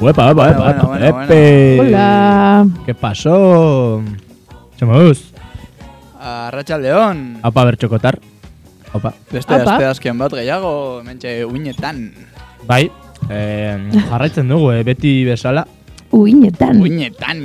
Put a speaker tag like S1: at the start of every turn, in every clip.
S1: Uepa, uepa,
S2: Bueno,
S1: uepa.
S2: bueno, bueno, bueno.
S1: Epe.
S3: Hola.
S1: ¿Qué pasó? Somos.
S2: Arratxal León.
S1: Apa bertxokotar. Opa.
S2: Beste
S3: Apa.
S2: aste azken bat gehiago, mentxe uinetan.
S1: Bai, eh, jarraitzen dugu, eh, beti bezala.
S3: Uinetan.
S2: Uinetan.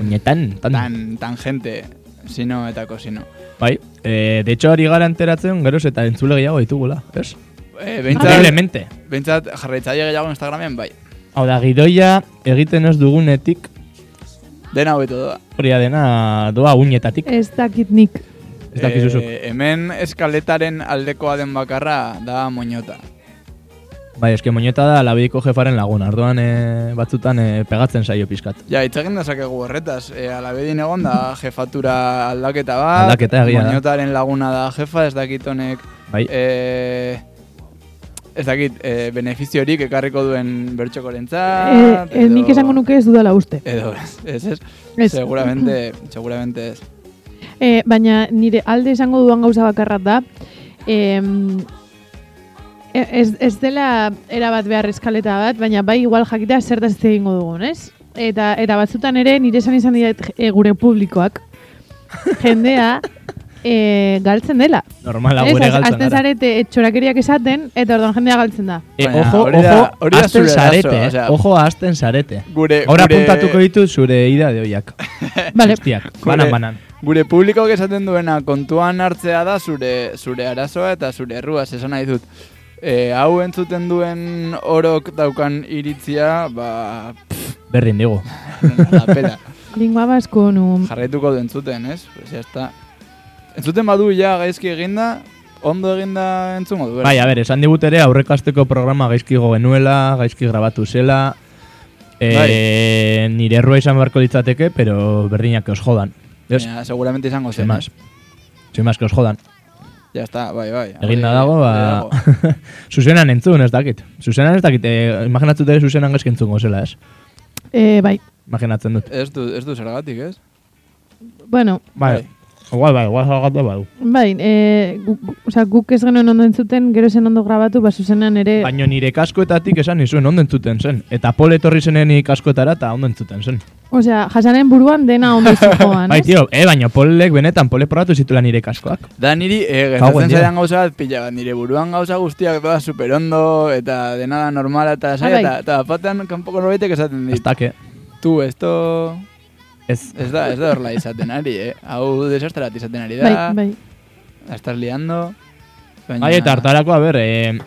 S1: Uñetan, tan.
S2: Tan, tan gente. Sino eta kosino.
S1: Bai, eh, de hecho ari gara enteratzen, geroz eta entzule gehiago ditugula, ez?
S2: Eh, behintzat,
S1: Increíblemente.
S2: behintzat jarraitzaile gehiago Instagramen, bai.
S1: Hau da, gidoia egiten ez dugunetik,
S2: Dena hobeto da.
S1: hori da dena doa uñetatik.
S3: Ez dakit nik.
S1: Ez dakizuzuk.
S2: Eh, hemen eskaletaren aldekoa den bakarra da moñota.
S1: Bai, eske moñeta da labidiko jefaren lagun, ardoan eh, batzutan eh, pegatzen saio pizkat.
S2: Ja, hitz egin dezakegu horretaz. E, alabedin egon da jefatura aldaketa bat.
S1: Aldaketa, egia da.
S2: Moñotaren laguna da jefa, ez dakit honek.
S1: Bai,
S2: E, ez dakit, e, benefiziorik ekarriko duen
S1: Ah,
S3: Eh,
S2: bertxokorentzat.
S3: eh, nik esango nuke ez dudala uste.
S1: Eh.
S2: Edo, ez, ez, ez.
S3: Ez.
S2: Seguramente, seguramente ez.
S3: Eh, baina nire alde esango duan gauza bakarra da, em, e- ez, ez dela erabat behar eskaleta bat, baina bai igual jakita zertaz hitz egingo dugun, ez? Eta, eta batzutan ere nire esan izan dira gure publikoak, jendea e, galtzen dela.
S1: normala
S3: Ez,
S1: gure
S3: az-
S1: galtzen
S3: Azten
S1: gara.
S3: zarete etxorakeriak esaten, eta orduan jendea galtzen da.
S1: E,
S2: Baina,
S1: ojo,
S2: hori da-
S1: ojo,
S2: hori da
S1: azten
S2: zure arazoa,
S1: zarete, eh?
S2: osea.
S1: ojo azten zarete.
S2: Eh, Gure,
S1: Ahora
S2: gure,
S1: apuntatuko ditut zure ida de oiak.
S3: Vale.
S1: Guztiak,
S2: Gure-
S1: banan, banan.
S2: Gure publikoak esaten duena kontuan hartzea da zure zure arazoa eta zure erruaz esan nahi dut. E, hau entzuten duen orok daukan iritzia, ba, pff,
S1: Berdin digu.
S2: la pela.
S3: Lingua basko nu.
S2: Jarraituko du entzuten, ez? Pues ya está. Entzuten badu ja gaizki eginda, ondo eginda entzungo du.
S1: Bai, a ber, esan digut ere aurreko asteko programa gaizkigo genuela, gaizki grabatu zela. E,
S2: Bai.
S1: Nire errua izan beharko litzateke, pero berdinak que os jodan. Ez?
S2: Ja, seguramente izango
S1: Sin
S2: zen. eh?
S1: más. Sin más que os jodan.
S2: Ya está, bai, bai.
S1: Eginda
S2: Hori-
S1: dago,
S2: hori dago.
S1: ba... Zuzenan entzun, ez dakit. Zuzenan ez dakit, e, imaginatzen dut ere zuzenan gaizki entzungo zela, ez?
S3: Eh, bai,
S1: Imaginatzen dut.
S2: Ez du, ez du zergatik, ez?
S3: bueno,
S1: Bai, igual bai, igual zagatua badu.
S3: bai, eh, gu, gu, osea, guk ez genuen ondo entzuten, gero zen ondo grabatu, ba, zuzenan ere...
S1: Baina nire kaskoetatik esan nizuen ondo entzuten zen. Eta pole etorri zenen kaskoetara eta ondo entzuten zen.
S3: Osea, jasanen buruan dena ondo izu joan,
S1: Bai,
S3: ez?
S1: tio, eh, baina polek benetan pole probatu zituela nire kaskoak.
S2: Da niri, e,
S1: Kauen
S2: gertatzen
S1: dira.
S2: zaidan gauza bat pila bat, nire buruan gauza guztiak doa superondo, eta dena da normala, eta
S3: Ah,
S2: sai,
S3: bai.
S2: eta, eta batean kanpoko norbaitek esaten dit.
S1: Hasta que...
S2: Tu, esto...
S1: Ez,
S2: Bai. Ez da, ez da horla izaten ari, eh? Hau desastrat izaten ari
S3: Bai,
S2: da,
S3: bai.
S2: la estás liando... Baina...
S1: Bai, eta hartarako, a ber, eh,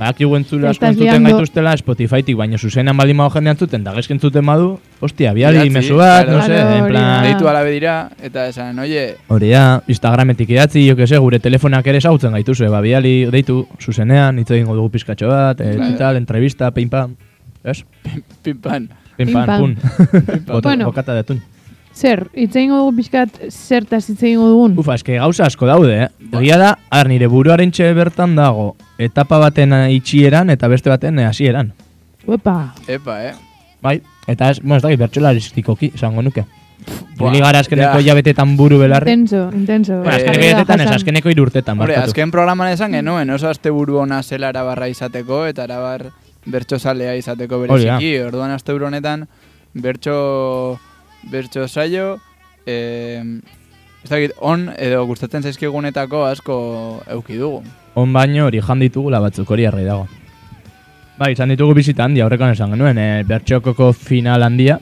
S1: badakigu entzule
S3: Te
S1: asko
S3: estás
S1: entzuten
S3: liando.
S1: gaituztela Spotifytik, baina zuzenan baldin badago jendean entzuten, da gaizki entzuten badu, hostia, biali
S2: Idatzi,
S1: mezu bat,
S2: claro.
S1: no se,
S3: Claro,
S1: en
S3: hori
S1: plan...
S3: da.
S2: Deitu alabe dira, eta esan, oie,
S1: Hori da, Instagrametik idatzi, jo que se, gure telefonak ere sautzen gaituzue, ba, biali, deitu, zuzenean, hitz egingo dugu pizkatxo bat, eh,
S2: Claro.
S1: tal, entrevista, pim pam, ez?
S2: pinpan,
S1: Pim
S3: Pim
S1: pam,
S3: pam.
S1: pun. Bota-
S3: Bueno.
S1: Bokata de atún.
S3: Zer, itzein dugu pixkat zertaz itzein dugun.
S1: Ufa, eske gauza asko daude, eh? Egia da, ar nire buruaren txe bertan dago, etapa baten eh, itxieran eta beste baten eh, hasieran.
S3: Uepa.
S2: epa, eh?
S1: Bai, eta ez, bueno, ez dakit bertxolaristikoki, esango nuke.
S2: Buah,
S1: Hori gara azkeneko
S2: ja.
S1: hilabetetan buru belarri.
S3: Intenso, intenso.
S1: Bueno,
S2: Eh,
S1: azkeneko
S2: eh,
S1: hilabetetan ez, azkeneko irurtetan,
S2: Hore,
S1: barkatu.
S2: azken programan esan genuen, oso aste buru ona zela arabarra izateko, eta arabar bertxozalea izateko
S1: Hori da.
S2: bereziki, orduan aste buru honetan bertxo, bertxo saio, eh, ez dakit, on edo gustatzen zaizkigunetako asko euki dugu.
S1: On baino hori jan ditugula batzuk hori argi dago. Bai, izan ditugu bizita handia, horrekan esan genuen, eh, bertxokoko final handia.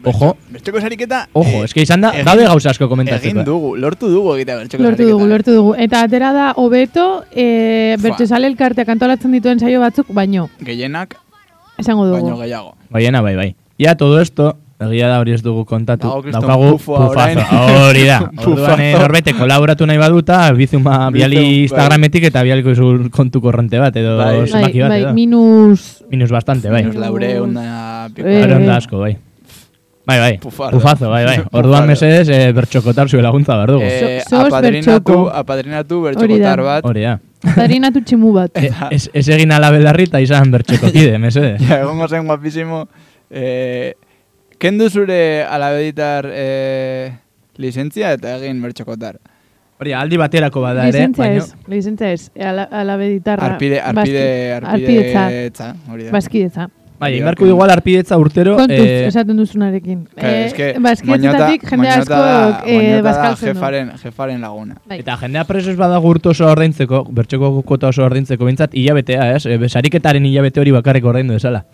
S1: Ojo,
S2: Bertxoko sariketa
S1: ojo, eske izan da,
S2: egin-
S1: daude gauza asko
S2: Eh, egin
S1: komentatzeko. eh.
S2: dugu, lortu dugu egitea bertxoko
S3: Lortu
S2: sariketa. eh.
S3: dugu, lortu dugu. Eta atera da, hobeto, e,
S2: Fua.
S3: bertxezale elkarteak antolatzen dituen saio batzuk, baino,
S2: Gehienak,
S3: esango
S2: baino
S3: dugu.
S2: gehiago.
S1: Baiena, bai, bai. Ia todo esto, egia da hori ez dugu kontatu.
S2: Dago kriston eh.
S1: Daukagu
S2: pufoa orain.
S1: pufazo, hori da. Orduan eh,
S2: Pufazo.
S1: norbete kolaboratu nahi baduta, bizuma biali
S2: bai.
S1: Instagrametik eta bialiko izur kontu korrente bat, edo
S2: Bai.
S3: Bai,
S1: zenbaki bat,
S3: bai,
S1: edo.
S3: minus...
S1: Minus bastante, bai.
S2: Minus laure, una
S3: Eh,
S1: Aaron
S3: eh.
S1: da asko, bai. Bai, bai.
S2: Pufardo.
S1: Pufazo, bai, bai.
S2: Pufardo.
S1: Orduan mesedez, eh, bertxokotar zuen laguntza behar dugu.
S2: Eh,
S3: So- sos
S2: apadrinatu,
S3: bertxoko.
S2: apadrinatu
S3: Hori da.
S2: bertxokotar bat.
S1: Hori da.
S3: Padrinatu tximu bat.
S1: E- Ez, ez egin ala belarri eta izan bertxokokide, mesedez.
S2: Ja, egongo zen guapísimo. Eh, kendu zure alabeditar eh, lizentzia eta egin bertxokotar.
S1: Hori, aldi baterako bada ere,
S3: Lizentzia
S1: baina...
S3: ez, lizentzia ez, ala, ala beditarra.
S2: Arpide, arpide,
S3: Arpidetza,
S2: etza, hori da.
S3: baskidetza.
S1: Bai, egin beharko igual arpidetza urtero. eh,
S3: Kontuz, esaten duzunarekin.
S2: Claro, es que
S3: Eh, Bazkietatik jende asko eh, bazkaltzen du.
S2: jefaren, jefaren laguna.
S3: Bai.
S1: Eta jendea presos badago urte oso ordaintzeko, bertxeko kuota oso ordaintzeko, bintzat hilabetea, ez? E, sariketaren hilabete hori bakarrik ordaindu desala.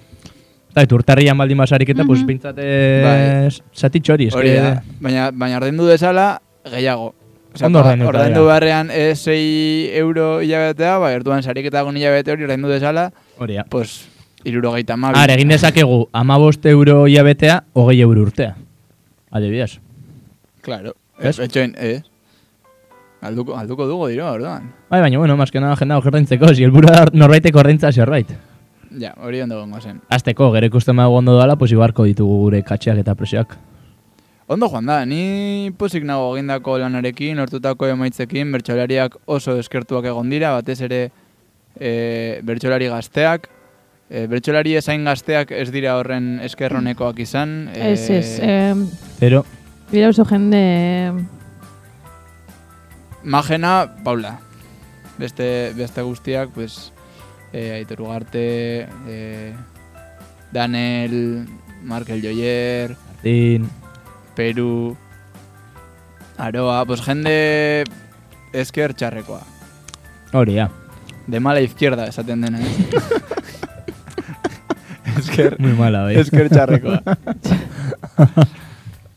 S1: Eta et, urtarrian baldin basariketa, mm -hmm. pues
S3: Mhm.
S1: bintzat eh, satitxo hori, eske-
S2: Bai. Hori da, baina, baina ordaindu dezala gehiago. Osea,
S1: Ondo ordainduta
S2: ordaindu
S1: dira.
S2: beharrean eh, 6 euro hilabetea, bai, orduan sariketa egun hilabete hori ordaindu dezala,
S1: hori da.
S2: pues, irurogeita mabi.
S1: Ara, egin dezakegu, amabost euro hilabetea, hogei euro urtea. Adibidez.
S2: Claro. Eh,
S1: Ez?
S2: Ez, etxoin, ez. Alduko, alduko dugu dira, orduan.
S1: Bai, baina, bueno, maskena jendea ordaintzeko, si helburua da norbaitek ordaintza zerbait.
S2: Ja, hori ondo gongo zen.
S1: Azteko, gero ikusten badago ondo dala, pues ibarko ditugu gure katxeak eta presioak.
S2: Ondo joan da, ni pozik nago egindako lanarekin, lortutako emaitzekin, bertsolariak oso eskertuak egon dira, batez ere e, bertsolari gazteak, e, bertsolari esain gazteak ez dira horren eskerronekoak izan. e,
S3: Ez, ez. Eh,
S1: Pero,
S3: dira oso jende... eh,
S2: Magena, Paula. Beste, beste guztiak, pues, e, Aitor Ugarte, e, Danel, Markel Joyer,
S1: Martin,
S2: Peru, Aroa, pues jende esker txarrekoa.
S1: hori da.
S2: De mala izquierda esaten dena, ez? esker,
S1: Muy mala, bai.
S2: esker txarrekoa.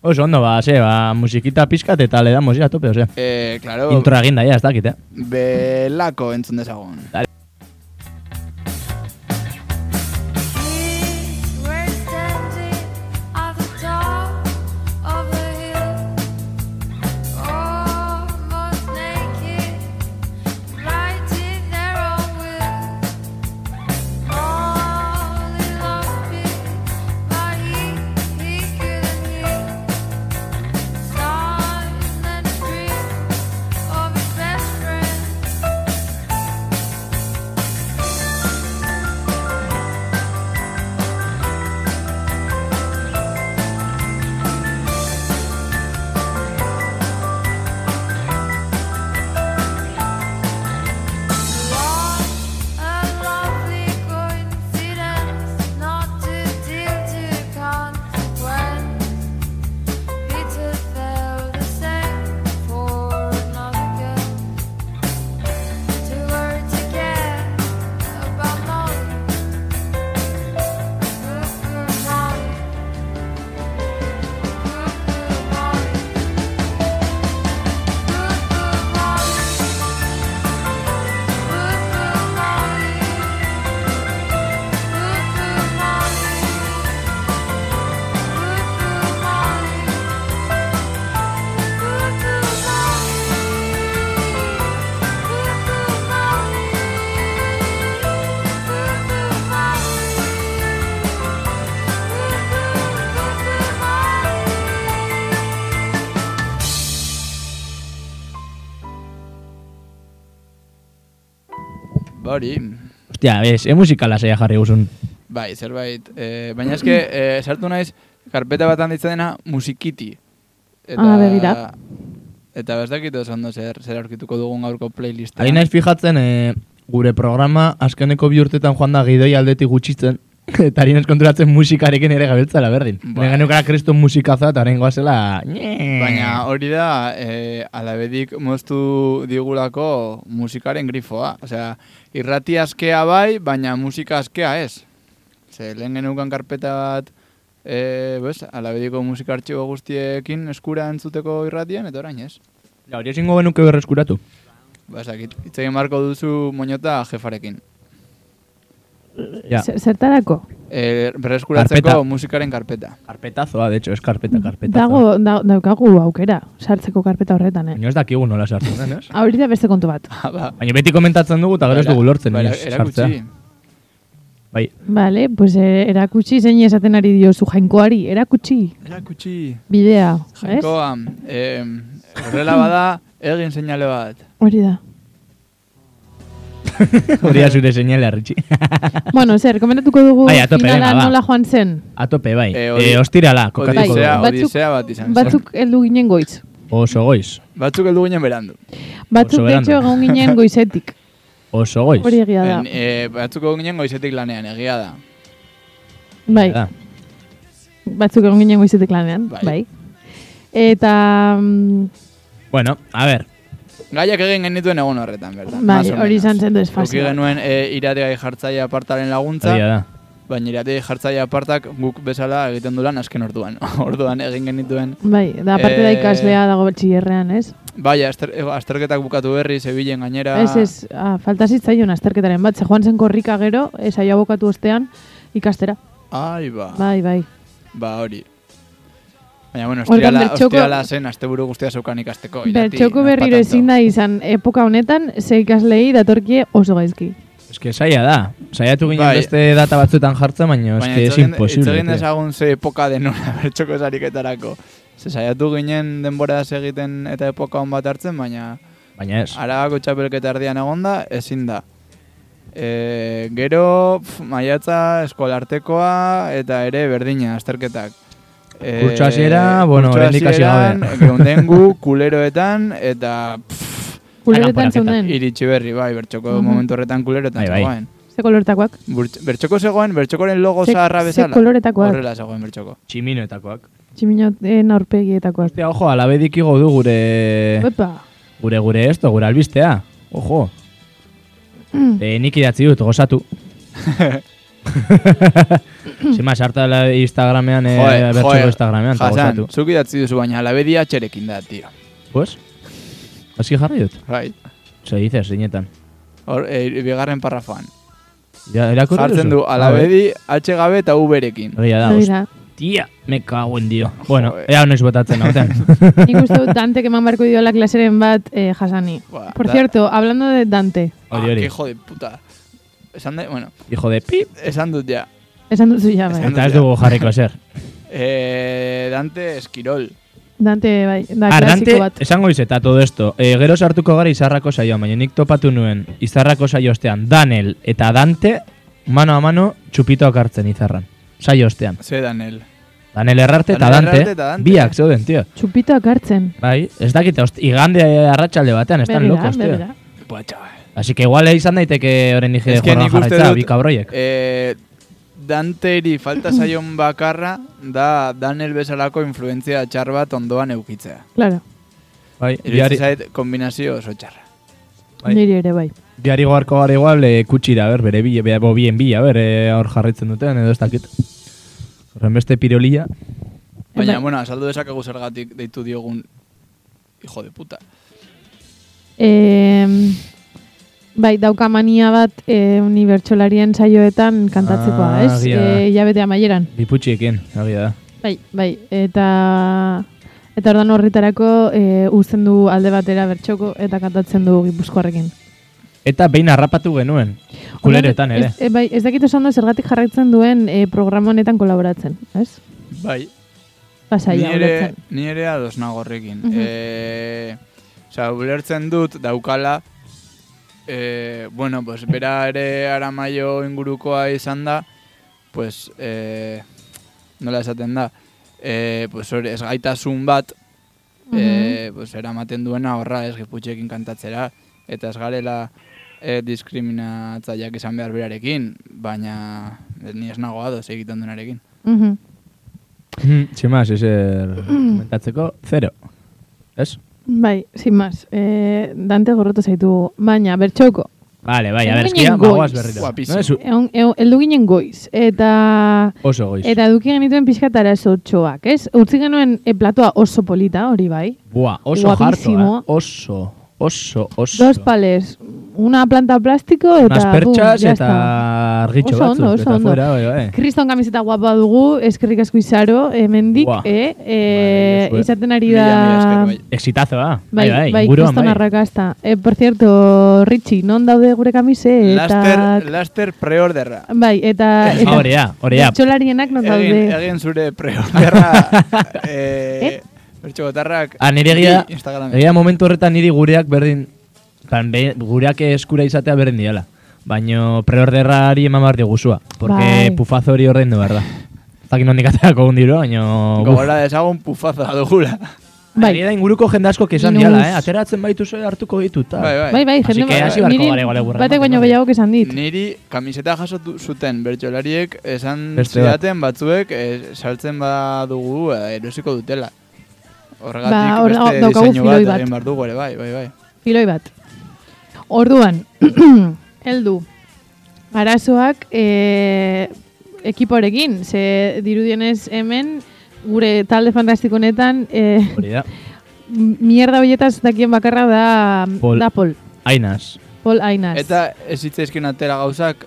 S1: Oso ondo, ba, ze, ba, musikita pizkat eta le damos ya a tope, ose.
S2: Eh, claro,
S1: Intro eginda, ja, ez dakit, eh?
S2: belako entzun dezagun.
S4: We were standing at the top of the hill, almost naked, lighting their own will. All in love but he couldn't hear. Signs and dreams of his best friend. Bye.
S2: Ba hori,
S1: Hostia, ez, e musikala zeia jarri guzun.
S2: bai, zerbait. Eh, baina eske, eh, sartu naiz, karpeta bat handitzen dena musikiti.
S3: Ah, begira.
S2: Eta ez dakit oso ondo zer, zer aurkituko dugun gaurko playlistean.
S1: Ari naiz fijatzen, e, gure programa azkeneko bi urtetan joan da gidoi aldetik gutxitzen. eta ari naiz konturatzen musikarekin ere gabiltzala berdin.
S2: Bai.
S1: Bai. Neganukara kreston musikaza eta horrengoa zela...
S3: Eh.
S2: Baina hori da, eh, alabedik moztu digulako musikaren grifoa. Osea, irrati askea bai, baina musika askea ez. Ze, lehen genukan karpeta bat, eh, bez, alabediko musikartxibo guztiekin eskura entzuteko irratian, eta orain ez.
S1: Ja, hori ezingo genuke berreskuratu.
S2: Bazakit, Ba, hitz egin barko duzu moñota jefarekin.
S1: Ja.
S3: zer- Zertarako?
S2: Eh, berreskuratzeko
S1: Karpeta.
S2: musikaren karpeta.
S1: Karpetazoa, de hecho, ez karpeta, karpetazoa.
S3: Dago, da, daukagu aukera, sartzeko karpeta horretan, eh?
S1: Baina ez dakigu nola sartzen den, ez?
S3: Hori da beste kontu bat.
S2: Ah, ba.
S1: Baina beti komentatzen dugu eta gero ez dugu lortzen.
S2: Ba,
S1: inoiz
S2: era- erakutsi.
S1: sartzea. Bai,
S3: Vale, pues eh, erakutsi zein esaten ari diozu jainkoari, erakutsi
S2: Erakutsi.
S3: bidea, ez?
S2: Jainkoa, eh, horrela bada, egin seinale bat.
S1: Ah,
S3: Hori da.
S1: hori da zure seinale arritxi.
S3: bueno, zer, komentatuko dugu
S1: Bai, a tope,
S3: finala
S1: venga, ba.
S3: nola joan zen.
S1: A tope, bai.
S2: Eh,
S1: Eh,
S2: hori-
S1: ostirala, kokatuko
S2: Odisea,
S1: dugu.
S3: Batzuk-
S2: odisea bat izan zen.
S3: Batzuk heldu ginen goiz.
S1: Oso goiz.
S2: Batzuk heldu ginen berandu.
S3: Batzuk
S1: Oso
S3: de
S1: berandu.
S3: hecho egon ginen goizetik.
S1: Oso goiz.
S3: Hori egia da.
S2: En, eh, batzuk heldu ginen goizetik lanean, egia da.
S3: Bai,
S1: Da.
S3: batzuk egon ginen goizetik lanean,
S2: Bai.
S3: bai. Eta, mm,
S1: Bueno, a ver,
S2: Gaiak egin genituen egun horretan, bertan.
S3: bai, hori izan zen desfase.
S2: Euki genuen e, irategai jartzaile apartaren laguntza,
S1: egia da.
S2: baina irategai jartzaile apartak guk bezala egiten du lan azken orduan. orduan egin genituen.
S3: Bai, da parte da
S2: Eh,
S3: ikaslea dago batxillerrean, ez?
S2: Bai, aster, eh, azterketak bukatu berri, zebilen gainera.
S3: Ez, ez, ah, falta zitzaion azterketaren bat, ze joan zen korrika gero, ez aio abokatu ostean, ikastera.
S2: Ai, ba.
S3: Bai, bai.
S2: Ba, hori. Baina, bueno,
S3: Orduan
S2: ostirala,
S3: bertxoko-
S2: ostirala zen, asteburu guztia zeukan ikasteko. irati,
S3: Bertxoko
S2: no
S3: berriro
S2: patanto.
S3: ezin da izan epoka honetan, ze ikaslei datorkie oso gaizki.
S1: Eske saia da. Saiatu ginen
S2: Bai.
S1: beste data batzuetan jartzen, baina eske
S2: hitz
S1: es
S2: egin- hitz
S1: imposible.
S2: egin
S1: tío.
S2: dezagun ze epoka denora bertxoko zariketarako. Ze saiatu ginen denbora egiten eta epoka hon bat hartzen, baina
S1: Baina ez.
S2: arabako txapelketa erdian egon da, ezin da. E, gero, pf, maiatza, eskolartekoa, eta ere berdina, azterketak. E,
S1: Kurtso hasiera, bueno,
S2: kurtso
S1: oraindik hasi
S2: hasieran,
S1: gabe.
S2: geunden gu, kuleroetan, eta pff,
S3: Kuleretan
S2: Ah,
S1: kanporaketa.
S3: zeuden,
S2: iritsi berri, bai, bertxoko momentu horretan kuleroetan
S1: Bai, bai.
S2: zegoen.
S3: ze koloretakoak.
S2: Burtx- Bertxoko zegoen, bertxokoren logo
S3: Ze-
S2: zaharra
S3: ze
S2: bezala.
S3: koloretakoak,
S2: Horrela zegoen bertxoko.
S1: Tximinoetakoak.
S3: tximinoten aurpegietakoak.
S1: Ostia, ojo, alabedik igo du gure
S3: Opa,
S1: gure gure esto, gure albistea. Ojo.
S3: Mm.
S1: Eh, nik idatzi dut, gozatu. Sin más, harta la Instagramean, eh, bertxoko Instagramean, eta
S2: Hasan,
S1: gozatu.
S2: zuk idatzi duzu baina alabedia txerekin da, tio.
S1: Pues, aski jarri dut.
S2: Bai.
S1: Se dices, zeinetan.
S2: Hor, e, bigarren parrafoan.
S1: Ja, erakurri
S2: Jartzen du, alabedi, H gabe eta U-berekin.
S1: Egia da,
S3: begira.
S1: hostia, me cago en dio. Bueno,
S2: Joder. Ah,
S1: ea noiz botatzen nauten.
S3: Nik uste dut Dante eman barko diola klaseren bat eh, jasani.
S2: Ba,
S3: Por
S2: da-
S3: cierto, hablando de Dante,
S1: Hori,
S2: Ah,
S1: hori.
S2: hijo de puta. Esan da, bueno,
S1: Hijo de pip.
S2: esan dut ja.
S3: esan duzu ja, bai.
S2: Esan-
S1: Eta ez dugu jarriko zer.
S3: Ba,
S2: Eh, Dante Esquirol.
S3: Dante, bai, da
S1: Ardante,
S3: klasiko bat.
S1: esango izeta todo esto. E, gero sartuko gara izarrako saioan, baina nik topatu nuen izarrako saio ostean Danel eta Dante mano a mano txupitoak hartzen izarran. Saio ostean.
S2: Ze Danel.
S1: Danel errarte eta
S2: Danel
S1: Dante,
S2: Errarte eta Dante.
S1: biak zeuden, tio.
S3: Txupitoak hartzen.
S1: Bai, ez dakite, host, igande arratsalde batean, están
S3: Begira,
S1: locos, tio.
S3: begira.
S2: Buah, chaval.
S1: Así que igual izan daiteke oren nige
S2: Ez que
S1: jorran
S2: nik uste
S1: jarraitza,
S2: dut-
S1: bi kabroiek.
S2: Eh, Danteri falta zaion bakarra da Danel bezalako influentzia txar bat ondoan eukitzea.
S3: Claro,
S1: Bai,
S2: Iruditzen
S1: diari,
S2: zait kombinazio oso txarra.
S1: Bai.
S3: niri ere bai.
S1: diari goarko gara igual e, kutsira, ber, bere bila, bere bien bila, ber, eh, hor jarraitzen duten, edo ez dakit. Horren beste pirolia.
S2: Baina,
S3: Bai.
S2: bueno, azaldu dezakegu zergatik deitu diogun hijo de puta.
S3: Eh, bai, dauka mania bat eh, unibertsolarien saioetan kantatzekoa,
S1: Ah,
S3: ez?
S1: agia da.
S3: Eh, hilabete amaieran.
S1: Biputxiekin, egia da.
S3: Bai, bai, eta... Eta ordan horretarako eh, uzten du alde batera bertxoko eta kantatzen du gipuzkoarrekin.
S1: Eta behin harrapatu genuen, kuleretan ere.
S3: Ez, e, bai, ez dakit oso ondo zergatik jarraitzen duen eh, programa honetan kolaboratzen, ez?
S2: Bai, ni
S3: Pasaia,
S2: ere,
S3: ulertzen.
S2: ni ere ados nago horrekin.
S3: Mhm.
S2: Eh, osea, ulertzen dut daukala, eh, bueno, pues, bera ere aramaio ingurukoa izan da, pues, eh, nola esaten da, eh, pues, hori, ez gaitasun bat,
S3: Mhm.
S2: eh, pues, eramaten duena horra, ez giputxekin kantatzera, eta ez garela eh, diskriminatzaileak izan behar berarekin, baina eh, ni ez nago ados egiten duenarekin.
S3: Mhm.
S1: Hmm, Tximaz, ezer er
S3: Mm.
S1: komentatzeko, zero. Ez?
S3: Bai, sin más. Eh, Dante gorrotu zaitu, baina bertxoko.
S1: Vale, bai, a
S3: Egun
S1: ber, eskia,
S3: ginen goiz.
S1: bagoaz berriro.
S2: Guapísimo.
S1: No, ez u-
S3: Egon, egon, eldu ginen goiz, eta...
S1: oso goiz.
S3: Eta eduki genituen pixkatara ez otxoak, ez? Utzi genuen eh, platoa oso polita, hori bai.
S1: Buah, oso jarto,
S3: guapísimo.
S1: eh? oso, oso, oso.
S3: Dos pales, una planta plastiko eta...
S1: Unas perchas
S3: bum, ya
S1: eta
S3: está.
S1: argitxo
S3: Oso
S1: batzuk.
S3: ondo, oso
S1: eta
S3: ondo.
S1: fuera, bai, bai.
S3: Kriston kamiseta guapa dugu, eskerrik asko izaro, hemendik,
S1: Buah.
S3: eh, eh,
S1: Madre, Josué.
S3: izaten ari
S2: Mila,
S3: da...
S2: mila esker, bai.
S1: Exitazoa.
S3: Bai, bai, bai,
S1: ah. inguruan,
S3: kriston arrakasta. Eh, por cierto, Richie, non daude gure kamisetak?
S2: Laster, laster preorderra.
S3: Bai, eta... eta
S1: Ah, Horea, horea.
S3: Bertsolarienak non daude.
S2: Egin, egin zure preorderra. eh, Bertxogotarrak.
S1: Ah, nire egia,
S2: bi Instagramen.
S1: egia momentu horretan niri gureak berdin, plan, be- gureak eskura izatea berdin diala. Baino preorderrari eman behar diguzua, porque
S3: Bai.
S1: pufazo hori Oh, horrein du, berda. Zakin hondik ateako gundirua, baino...
S2: Gogora dezagun pufaza dugula.
S3: Bai.
S1: Ari da inguruko jende askok esan diala,
S3: Noz.
S1: eh? Ateratzen baitu zure hartuko ditut, ta.
S2: Bai, bai.
S3: Bai, bai,
S1: Así
S3: jende
S1: que hasi
S3: bat-
S1: beharko
S3: niri
S1: gara igual egurra
S3: batek
S1: ematen,
S3: baino
S1: bai.
S3: gehiago esan dit.
S2: Niri kamiseta jaso du- zuten bertsolariek esan
S1: Beste bat.
S2: zidaten batzuek eh, saltzen badugu eh, erosiko dutela. Horregatik
S3: Ba, hor-
S2: beste
S3: daukagu
S2: diseinu bat
S3: filoi bat.
S2: egin behar dugu ere, bai, bai, bai.
S3: Filoi bat. Orduan, heldu. Arazoak eh, ekiporekin, ze dirudienez hemen gure talde fantastikonetan eh,
S1: Hori da.
S3: mierda hoietaz dakien bakarra da
S1: Pol.
S3: da Pol,
S1: Ainaz.
S3: Pol Ainaz.
S2: Eta ez hitzaizkin atera gauzak,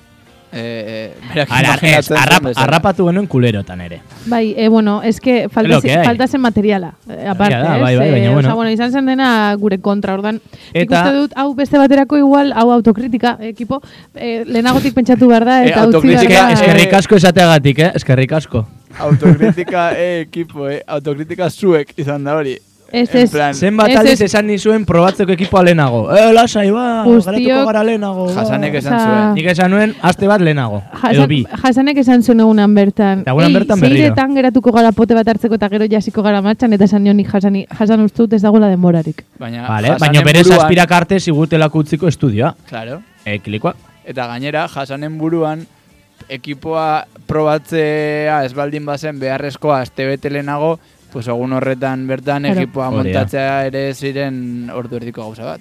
S2: eh, berak
S1: Ara, ez,
S2: imaginatzen zuen
S1: arrap,
S2: bezala.
S1: arrapatu genuen kulerotan ere.
S3: Bai, eh, bueno, es que falta,
S1: Lo que hay.
S3: falta zen materiala, eh, aparte,
S1: da,
S3: ez?
S1: bai, bai,
S3: Eh,
S1: baina
S3: osea,
S1: bueno.
S3: bueno, izan zen dena gure kontra, ordan. Eta...
S1: Eta-
S3: Ikuste dut, hau beste baterako igual, hau autokritika, ekipo, eh, lehenagotik pentsatu behar da,
S2: Eh,
S3: eta utzi behar
S2: autokritika,
S3: da.
S2: Ah, eske-
S1: Eskerrik asko esateagatik, eh? Eskerrik asko.
S2: Autokritika, eh, ekipo, eh, autokritika zuek izan da hori.
S3: Ez,
S2: En
S3: ez.
S2: plan,
S1: Zenbat
S3: Ez,
S1: aldiz
S3: ez.
S1: esan nizuen probatzeko ekipoa lehenago. Eh, lasai, ba,
S3: Guztiok-
S1: garatuko gara lehenago. ba.
S2: jasanek esan
S3: Osea,
S2: zuen.
S1: Nik esan nuen, aste bat lehenago. Edo
S3: Jasan,
S1: bi.
S3: jasanek esan zuen egunan bertan.
S1: Eta egunan bertan berriro."
S3: Zeiretan geratuko gara pote bat hartzeko eta gero jasiko gara martxan, eta esan nionik jasani, jasan uste dut ez dagoela denborarik.
S2: Baina,
S1: Vale,
S2: Hasanen
S1: baina bere
S2: buruan- Eh,
S1: zazpirak arte zigutelako utziko estudioa.
S2: Claro.
S1: E, klikoa.
S2: Eta gainera, jasanen buruan, ekipoa probatzea ez baldin bazen beharrezkoa astebete lehenago, pues egun horretan bertan
S3: Claro.
S2: ekipoa
S1: Hori da.
S2: montatzea ere ziren ordu erdiko gauza bat.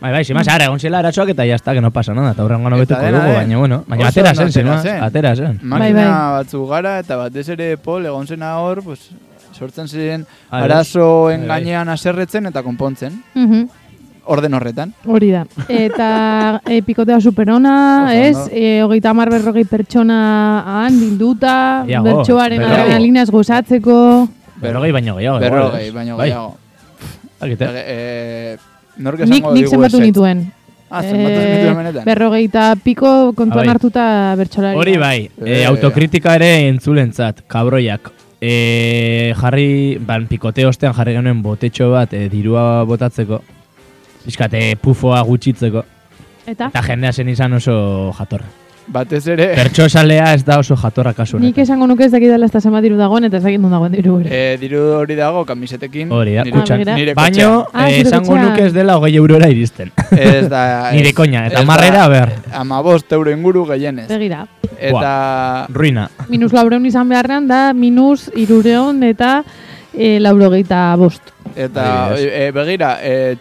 S1: Bai, bai, semaz, ara, egon zela eratxoak eta jazta, que no pasa nada. Eta horrengo nobetuko
S2: dena
S1: dugu,
S2: den.
S1: baina, bueno. Baina
S2: Oso
S1: atera
S2: ondo
S1: zen,
S2: atera
S1: semaz,
S2: zen.
S1: atera zen.
S2: Makina
S3: bai.
S2: batzu gara eta batez ere Pol egon zena hor, pues, sortzen ziren
S1: Bai,
S2: arazoen
S1: bai, bai.
S2: gainean aserretzen eta konpontzen.
S3: Mhm.
S2: Orden horretan.
S3: Hori da. Eta e, pikotea superona,
S2: Oso
S3: ez?
S2: ondo.
S3: E, hogeita hamar berrogei pertsona han bilduta,
S1: Iago,
S3: bertsoaren
S1: oh, berrogei.
S3: adrenalinaz gozatzeko.
S1: Berrogei baino gehiago. igual,
S2: Berrogei,
S1: ez?
S2: baino
S1: Ah, Bai,
S2: gehiago.
S1: dakite.
S2: Eh, nork
S3: Nik,
S2: esango
S3: nik
S2: digu
S3: zenbatu
S2: ezetz?
S3: nituen.
S2: Ah, zenbatu
S3: Eh,
S2: zenituen benetan.
S3: berrogeita piko kontuan
S1: Abai.
S3: hartuta bertsolari.
S1: Bai. Hori bai,
S2: Eh.
S1: e, autokritika ere entzulentzat, kabroiak. E, jarri, ban, pikote ostean jarri genuen botetxo bat e, dirua botatzeko. Bizkate pufoa gutxitzeko.
S3: Eta?
S1: Eta jendea zen izan oso jatorra.
S2: Batez ere,
S1: Pertso salea ez da oso jatorra kasu
S3: Nik
S1: honetan.
S3: esango nuke ez dakit dela zenbat diru dagoen eta ez dakit non dagoen diru hori.
S2: eh, diru hori dago kamisetekin.
S1: Hori da,
S2: nire-
S1: kutxan.
S3: Ah, begira.
S2: nire
S1: Baino,
S3: Ah,
S1: eh,
S3: zure
S1: esango
S3: kutxan.
S1: nuke ez dela hogei eurora iristen.
S2: kotxean. Ez da...
S1: Nire
S2: ez-
S1: koña, eta
S2: ez da
S1: marrera, a ber.
S2: Amabost euro inguru gehienez.
S3: Begira,
S2: Eta...
S1: Ruina.
S3: minus laureun izan beharrean da minus irureun eta e, laurogeita bost.
S2: Eta,
S1: Adibidez.
S2: e, begira, e,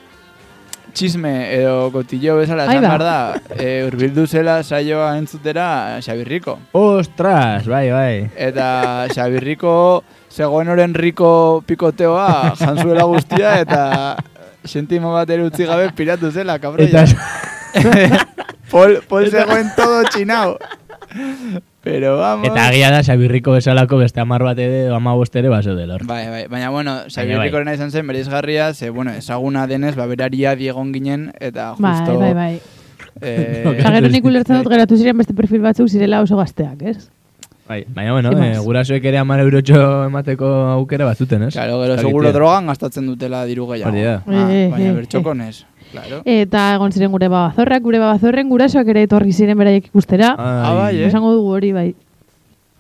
S2: txisme edo kotillo bezala
S3: Ahí
S2: esan
S3: va.
S2: behar da, e, urbildu zela saioa entzutera Xabirriko.
S1: Ostras, bai, bai.
S2: Eta Xabirriko zegoen oren riko pikoteoa janzuela guztia eta sentimo bat ere utzi gabe piratu zela, kabroia.
S1: Eta
S2: Pol, pol zegoen todo chinao. Pero vamos.
S1: Eta agia da, Xabirriko bezalako beste amar bat ere, ama ere baso delor.
S2: Bai, bai, baina bueno,
S1: bai.
S2: Xabierrikorena izan zen bereizgarria, ze, bueno, ezaguna denez, ba, beraria diegon ginen, eta
S3: Bai,
S2: justo...
S3: bai, bai.
S2: eh,
S3: Eta gero nik ulertzen dut geratu ziren beste perfil batzuk zirela oso gazteak, ez?
S1: Bai, baina bueno,
S3: Sin
S1: eh,
S3: más.
S1: gurasoek ere amar eurotxo emateko aukera bazuten, ez?
S2: Claro, gero
S1: Jakitea.
S2: seguro drogan gastatzen dutela diru gehiago.
S1: Hori da.
S2: Ah,
S3: Eh, eh,
S2: baina
S3: eh.
S2: bertxokonez, claro.
S3: Eta egon ziren gure babazorrak, gure babazorren gurasoak ere etorri ziren beraiek ikustera.
S1: Ai.
S2: Ah, bai, eh?
S3: Esango dugu hori bai.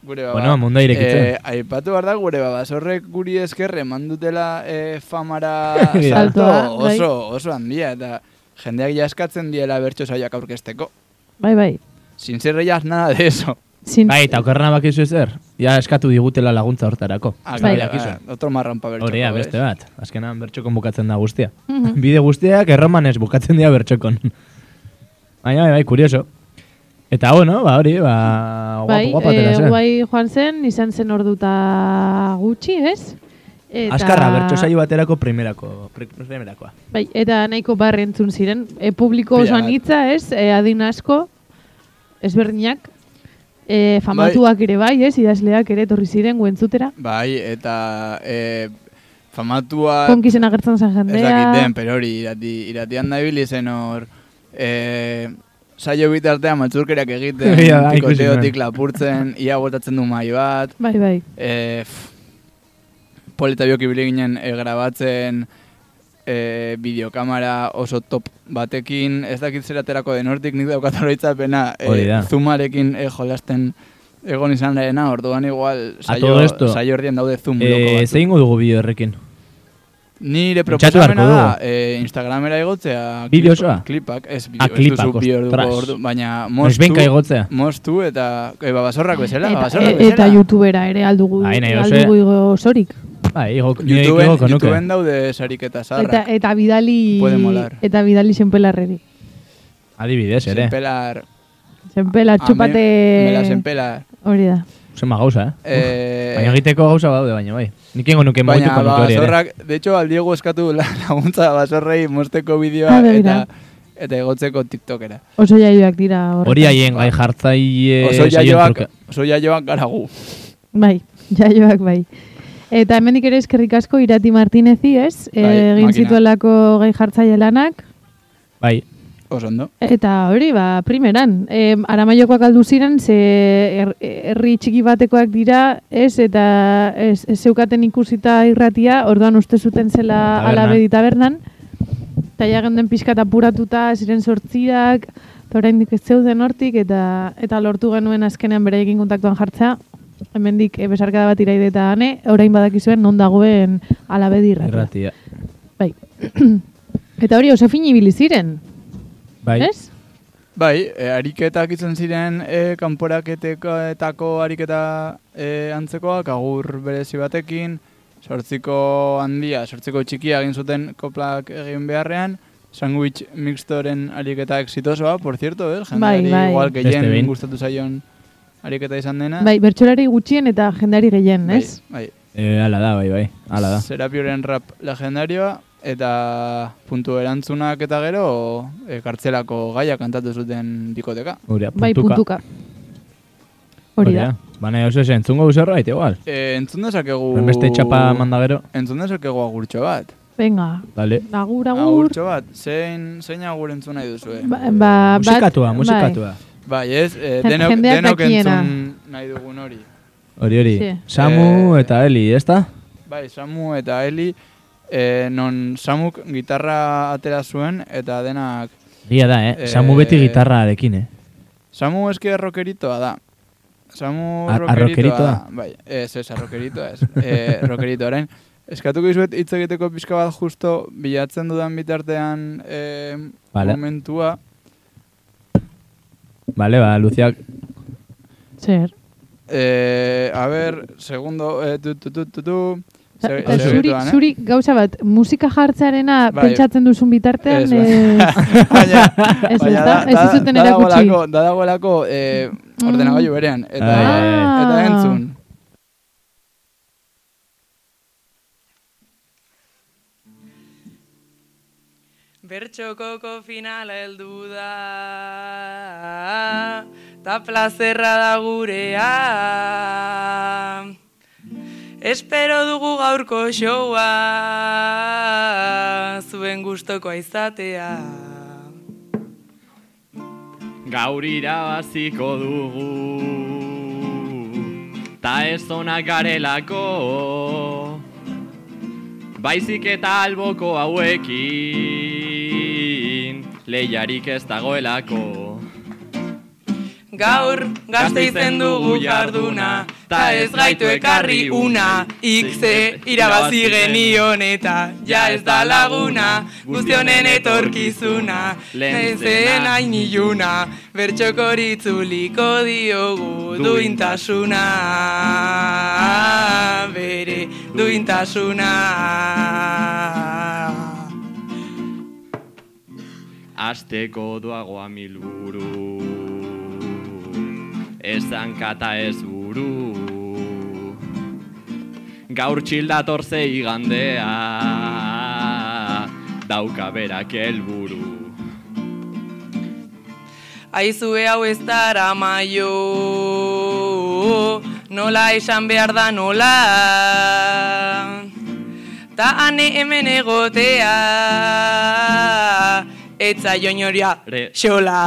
S2: Gure baba.
S1: Bueno, mundua irekitzen.
S2: Eh, aipatu behar da, gure baba, zorrek guri eskerre eman dutela eh, famara
S1: Hori da.
S2: salto
S3: Saltoa, bai.
S2: oso, oso handia, eta jendeak jaskatzen diela bertxo saioak aurkesteko.
S3: Bai, bai.
S2: Sin ser ellas nada de eso.
S3: Sin,
S1: Bai, eta okerrena bakizu ezer. Ja eskatu digutela laguntza hortarako.
S2: Ah,
S1: Ez
S3: Bai.
S1: da
S2: claro,
S1: dakizu.
S2: ah, otro marrón pa bertxoko.
S1: Hori da,
S2: eh.
S1: beste bat. Azkenan bertxokon bukatzen da guztia.
S3: Mhm.
S1: Bide guztiak erromanez bukatzen dira bertxokon. Baina, bai, bai, kurioso. Eta bueno, ba hori, ba, guapo,
S3: bai,
S1: guapa atera
S3: eh,
S1: zen.
S3: guai joan zen, izan zen orduta gutxi, ez? Eta,
S1: Azkarra, bertso saio baterako primerako, pri- primerakoa.
S3: Bai, eta nahiko barre entzun ziren. E, publiko
S2: Pila
S3: oso
S2: bat.
S3: anitza, ez? E, adin asko, ezberdinak. E, famatuak ere bai, ez? Idazleak ere etorri ziren guentzutera.
S2: Bai, eta eh, famatua...
S3: Konkisen agertzen zen
S2: Ba, Ez
S3: jendea.
S2: dakit den, pero hori, irati, iratian da ibili zen hor... Eh, saio bitartean matzurkeriak egiten,
S1: Egia da, ikusi
S2: pikoteotik
S1: nuen.
S2: lapurtzen, ia botatzen du mai bat...
S3: Bai, bai.
S2: Eh, Polita biok ibili ginen eh, grabatzen eh, bideokamara oso top batekin, ez dakit zer aterako den hortik nik daukat oroitzapena
S1: Hori da.
S2: zumarekin eh, jolasten egon izan lehena, orduan igual
S1: todo
S2: saio,
S1: esto,
S2: saio erdien daude zoom loko
S1: Eh,
S2: batzuk.
S1: zein dugu bideo horrekin?
S2: Nire
S1: Pentsatu
S2: proposamena
S1: beharko
S2: da,
S1: dugu.
S2: e, Instagramera igotzea
S1: Bideo
S2: klip-
S1: osoa?
S2: Klipak, ez bideo,
S1: Ah,
S2: ez duzu
S1: klipak,
S2: bi orduko
S1: ostras.
S2: ordu, baina
S1: Noiz
S2: moztu,
S1: benka igotzea.
S2: moztu eta e, babasorrak bezala,
S3: Eta,
S2: babasorrak
S3: e- eta
S2: bezala.
S3: youtubera ere aldugu,
S1: Bai, nahi dozu,
S3: aldugu igo sorik.
S1: Bai, igok, nire
S2: YouTubeen,
S1: igoko nuke.
S2: YouTubeen daude sariketa
S3: Eta,
S2: zaharrak.
S3: eta bidali,
S2: Puede molar.
S3: eta bidali senpelarreri.
S1: Adibidez, ere.
S2: Senpelar.
S3: Senpelar,
S2: A
S3: txupate...
S2: me- Mela senpelar.
S3: Hori da.
S1: Zema gauza, eh?
S2: Eh,
S1: Baina egiteko gauza badaude, baina bai. Nik ingo nuke moituko
S2: Baina, ba,
S1: nuke hori ere.
S2: basorrak, de hecho, al Diego eskatu la- laguntza basorrei mozteko bideoa
S3: Ah, begira.
S2: eta eta egotzeko TikTokera.
S3: Oso jaioak dira horretan.
S1: Hori haien gai jartzaile
S2: Oso
S1: saioen
S2: jaioak,
S1: Eh, truke.
S2: oso jaioak gara gu.
S3: Bai, jaioak bai. Eta hemendik ere eskerrik asko Irati Martinezi, ez?
S2: Bai,
S3: egin
S2: makina.
S3: zituelako gai jartzaile lanak.
S1: Bai,
S2: Oso ondo.
S3: Eta hori, ba, primeran, em, aramaiokoak aldu ziren, ze her- herri txiki batekoak dira, ez, eta ez, ez zeukaten ikusita irratia, orduan uste zuten zela
S1: Tabernan.
S3: alabedi tabernan, eta ja geunden pixka eta apuratuta, ziren sortziak, eta oraindik ez zeuden hortik, eta, eta lortu genuen azkenean beraiekin kontaktuan jartzea, hemendik eh, besarkada bat iraide eta ane, orain badakizuen non dagoen alabedi irratia.
S1: irratia.
S3: Bai. eta hori, oso fin ibili ziren,
S1: Bai,
S3: ez?
S2: Bai, e, ariketak izan ziren e, kanporaketako ariketa e, antzekoak, agur berezi batekin, sortziko handia, sortziko txikia egin zuten koplak egin beharrean, sandwich mixtoren ariketa exitosoa, por cierto, eh? jendeari
S3: bai.
S2: igual
S1: Beste
S2: gehien
S1: behin.
S2: gustatu zaion ariketa izan dena.
S3: Bai, bertsolari gutxien eta jendari gehien,
S2: bai,
S3: ez?
S2: bai.
S1: eh, ala da, bai, bai. Ala da.
S2: Serapioren rap legendarioa, eta puntu erantzunak eta gero e, kartzelako gaia kantatu zuten bikoteka.
S1: Gurea,
S3: Bai, puntuka. Hori da.
S1: Baina oso esen, zungo zerbait, igual.
S2: E, entzun dezakegu...
S1: Beste txapa manda gero.
S2: Entzun dezakegu agurtxo bat.
S3: Venga,
S1: Dale.
S3: agur, agur.
S2: Agurtxo bat. Zein, zein agur entzun nahi duzue?
S3: Ba, ba, bat-
S1: musikatua,
S3: bai.
S1: musikatua.
S2: Bai, ez, e,
S3: Jen-
S2: denok,
S3: jendeak
S2: denok
S3: dakiena.
S2: entzun nahi dugun hori.
S1: Hori, hori.
S3: Sí.
S1: Samu
S2: Eh,
S1: eta Eli, ezta?
S2: Bai, Samu eta Eli, e, non Samuk gitarra atera zuen, eta denak...
S1: Gia da, eh?
S2: eh,
S1: Samu beti gitarrarekin, eh?
S2: Samu eske rokeritoa da. Samu
S1: A-
S2: rokeritoa
S1: arrokeritoa?
S2: da. Bai, ez, ez, arrokeritoa, ez. e, rokeritoaren. Eskatuko izuet hitz egiteko pixka bat justo bilatzen dudan bitartean e,
S1: Vale.
S2: momentua.
S1: Bale, ba, Luziak.
S3: Zer.
S2: Eh, a ber, segundo, eh, tu, tu, tu, tu, tu.
S3: Ta-
S2: Seg-
S3: ta zuri,
S2: segituan, eh?
S3: zuri gauza bat, musika jartzearena
S2: Bai.
S3: pentsatzen duzun bitartean,
S2: Ez,
S3: ez,
S2: bai. Baina-
S3: ez,
S2: baina
S3: ezta?
S2: da-
S3: ez,
S2: da-
S3: zuten
S2: da
S3: erakutsi.
S2: dagoelako- Da dagoelako eh,
S3: Mm.
S2: ordenagailu berean. Eta,
S1: Ai, ai,
S3: ai.
S2: eta entzun.
S5: Bertxokoko finala heldu da, ta plazerra da gurea. Espero dugu gaurko showa, zuen gustokoa izatea.
S6: Gaur irabaziko dugu Ta ez onak garelako Baizik eta alboko hauekin Leiarik ez dagoelako
S5: Gaur gazteizen dugu jarduna, ta ez gaitu ekarri una, ikze irabazi genion eta ja ez da laguna, guztionen etorkizuna, lehen zen hain iluna, bertxokoritzuliko diogu duintasuna, bere duintasuna.
S6: Azteko doagoa milburu Ez hankata ez buru Gaur txildator ze igandea Dauka berak helburu
S5: Aizue hau ez dara maio, nola esan behar da nola. Ta ane hemen egotea, etza joinoria
S6: Re.
S5: xola.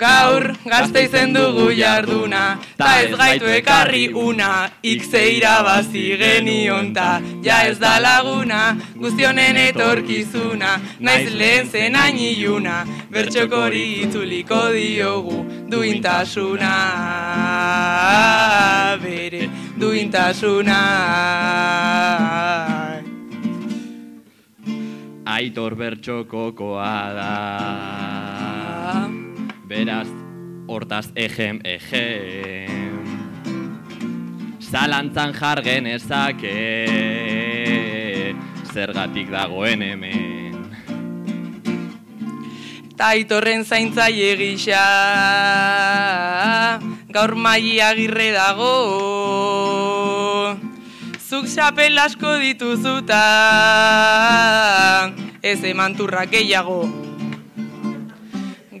S5: Gaur gazteizen dugu jarduna, ta ez gaitu ekarri una, ikze irabazi genion ta, ja ez da laguna, guztionen etorkizuna, naiz lehen zen hain iluna, bertxokori itzuliko diogu, duintasuna, bere duintasuna.
S6: Aitor bertxokokoa da
S5: Ah,
S6: Beraz, hortaz ejem, ejem Zalantzan jar genezake Zergatik dagoen hemen
S5: Taitorren zaintzaile gisa, gaur maia agirre dago. Zuk xapel asko dituzuta, ez eman turra gehiago.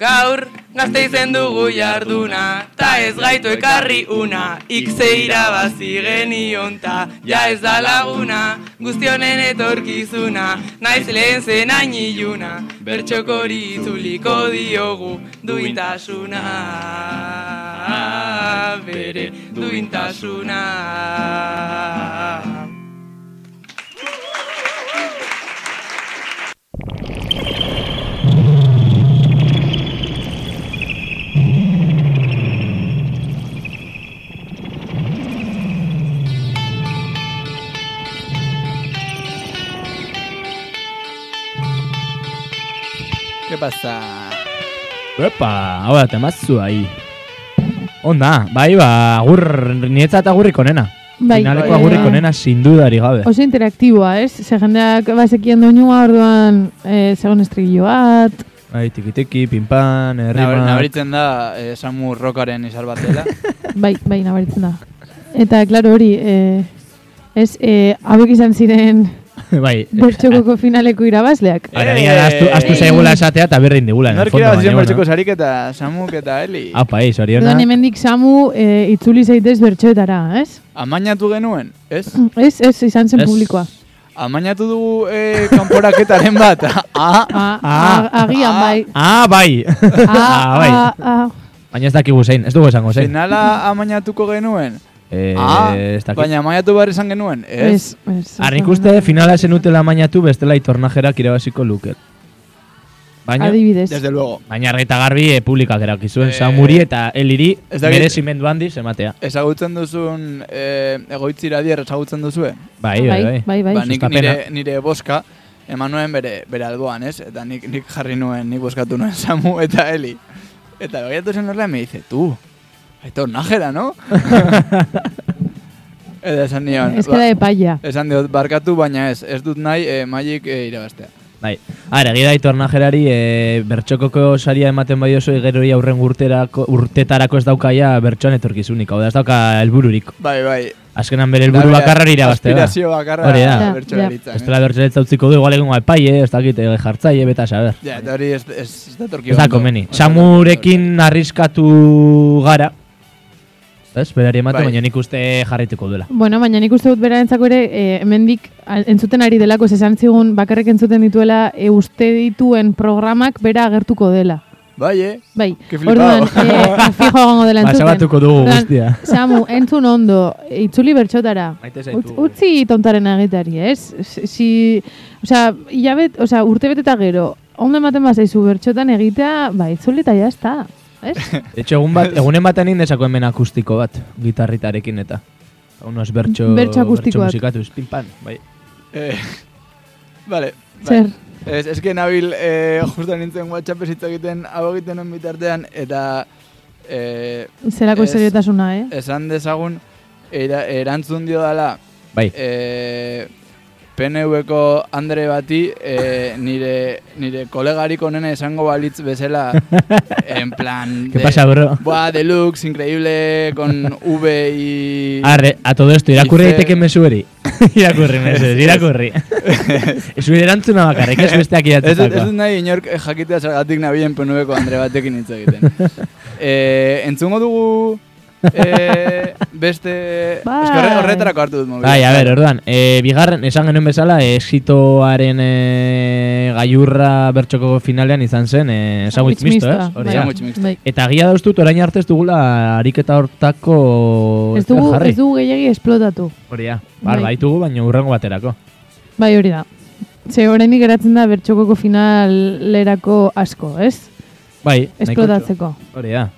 S5: Gaur, gazte izen dugu jarduna, ta ez gaitu ekarri una, ikze irabazi genion ta, ja ez da laguna, guztionen etorkizuna, naiz lehen zen hain iluna, bertxokori itzuliko diogu, duintasuna, bere duintasuna.
S2: ¿Qué pasa?
S1: Epa, hau da, temazzu ahi. Onda, bai, ba, agur, nietzat agurrik onena.
S3: Bai,
S1: Finaleko
S3: eh,
S1: agurrik onena sindudari gabe.
S3: Oso interaktiboa, ez? Ze jendeak bazekien doinua, orduan eh, zegoen estrigillo bat.
S1: Bai, tiki-tiki, pinpan,
S2: Nabari-
S1: herrima.
S2: Nabaritzen da eh, Samu Rockaren izar bat dela.
S3: Bai, bai, nabaritzen da. Eta, klaro, hori, eh, ez, eh, hauek izan ziren
S1: Bai,
S3: bertxokoko finaleko irabazleak.
S1: Ara, nia da, astu, astu
S2: Eh.
S1: zaigula esatea eta berrein digula. en el
S2: Nork
S1: fondo,
S2: irabazien
S1: baina,
S2: bertxeko
S1: bueno. Ah.
S2: sarik eta Samuk eta Eli.
S1: Apa, eiz, hori ona.
S3: Orduan hemendik Samu eh, itzuli zaitez bertxoetara, ez?
S2: Amainatu genuen, ez?
S3: Ez, ez, izan zen
S1: Ez.
S3: publikoa.
S2: Amainatu dugu eh, kanporaketaren bat.
S3: A,
S2: Ah,
S1: Ah.
S3: a- agian bai.
S1: Ah, bai.
S3: A,
S1: Ah, bai.
S3: a, a.
S1: Baina ez dakigu zein, ez dugu esango zein.
S2: finala amainatuko genuen.
S1: Eh,
S2: Ah,
S1: ez dakit.
S2: baina amainatu behar izan genuen, ez?
S3: Ez, ez.
S1: Arnik uste finala zen utela mainatu bestela itornajerak irabaziko luket. Baina, Bai,
S3: Adibidez.
S2: Desde luego.
S1: baina argi eta garbi eh, publikak erakizuen
S2: Eh,
S1: Samuri eta Eliri
S2: ez dakit-
S1: merezimendu handiz ematea.
S2: Ezagutzen duzun, eh, egoitzira dier ezagutzen duzue.
S1: Bai, bai, bai.
S3: bai, bai.
S2: ba, nik
S1: sustapena.
S2: nire, nire boska, eman nuen bere, bere alboan, ez? Eta nik, nik jarri nuen, nik boskatu nuen Samu eta Eli. Eta begiratu zen horrela, me dice, tu, aitor najera, no? eta esan nion,
S3: Ez que da
S2: ba,
S3: epaia.
S2: esan diot, barkatu, baina ez, ez dut nahi eh, maik eh, irabaztea.
S1: Bai. Ara, egia da itornajerari e, bertxokoko saria ematen bai oso egeroi aurren urterako, urtetarako ez daukaia bertxoan etorkizunik. Hau da, ez dauka helbururik.
S2: Bai, bai.
S1: Azkenan bere helburu bakarra hori irabaztea. da.
S2: Aspirazio bakarra eh.
S1: Hori da.
S3: Ja,
S2: bertsolaritzan,
S1: Bestela bertxaletza utziko du, igual egun epaile, ez dakit eh, jartzaile, beta saber.
S2: eh? Ja, eta hori ez, ez, ez da torki
S1: Ez da
S2: ondo.
S1: komeni.
S2: Ez da torki ondo.
S1: Samurekin arriskatu gara. Ez, berari ematen,
S2: Bai.
S1: baina nik uste jarrituko duela.
S3: Bueno, baina nik uste dut berarentzako ere eh, hemendik a- entzuten ari delako ze esan zigun bakarrik entzuten dituela e, uste dituen programak bera agertuko dela.
S2: Bai, eh?
S3: Bai,
S2: Ke flipado.
S3: orduan, eh, fijo egongo dela
S1: Ba,
S3: entzuten.
S1: sabatuko dugu
S3: Orduan,
S1: guztia.
S3: Samu, entzun ondo, itzuli bertxotara.
S1: Maite
S3: Utz, utzi tontaren agitari, ez? Si, si, osea, hilabet, osea, urte beteta gero, ondo ematen bazaizu bertxotan egitea, ba, itzuli eta jazta,
S2: Bai.
S3: ez?
S1: De hecho, egun bat, egunen batean indesako hemen akustiko bat, gitarritarekin eta. Unos bertso,
S3: Bertso akustikoak.
S1: musikatuz, pinpan, bai.
S2: Eh, vale. bai.
S3: Zer,
S2: Ez, eske nabil, eh, justo nintzen WhatsApp hitz egiten, hau egiten nuen bitartean, eta eh,
S3: zelako
S2: Ez.
S3: seriotasuna, eh?
S2: esan dezagun, era, erantzun dio dala,
S1: Bai,
S2: eh, PNV-ko Andre bati, eh, nire, nire kolegarik onena esango balitz bezala, en plan...
S1: ¿qué
S2: de-
S1: pasa, bro?
S2: Buah, deluxe, increíble, con V y...
S1: Arre, a todo esto, irakurri
S2: Izen-
S1: daiteke mesueri. irakurri, meses, irakurri. Ez zure erantzuna bakarrik, ez besteak
S2: Ez dut, ez dut
S1: idatzetakoa.
S2: nahi inork eh, jakitea zergatik nabien PNV-ko Andre batekin hitz egiten. e, entzungo dugu e, beste...
S3: Bai.
S2: Eske horre- horretarako hartu dut mobila.
S1: Bai, a ber, orduan, e, bigarren, esan genuen bezala, eh, esitoaren e, gaiurra bertxoko finalean izan zen, e, sandwich misto, ez? Hori
S3: bai.
S1: da.
S2: Sandwich mixto.
S3: Bai.
S1: Eta agia dauztut, orain arte ez dugula ariketa hortako...
S3: Ez dugu,
S1: jarri.
S3: ez dugu gehiagi esplotatu.
S1: Hori da, bar,
S3: Bai.
S1: baitugu, baina urrengo baterako.
S3: Bai, hori da. Ze oraindik geratzen da bertxokoko finalerako asko, ez?
S1: Bai, nahiko-
S3: Esplotatzeko.
S1: Hori da.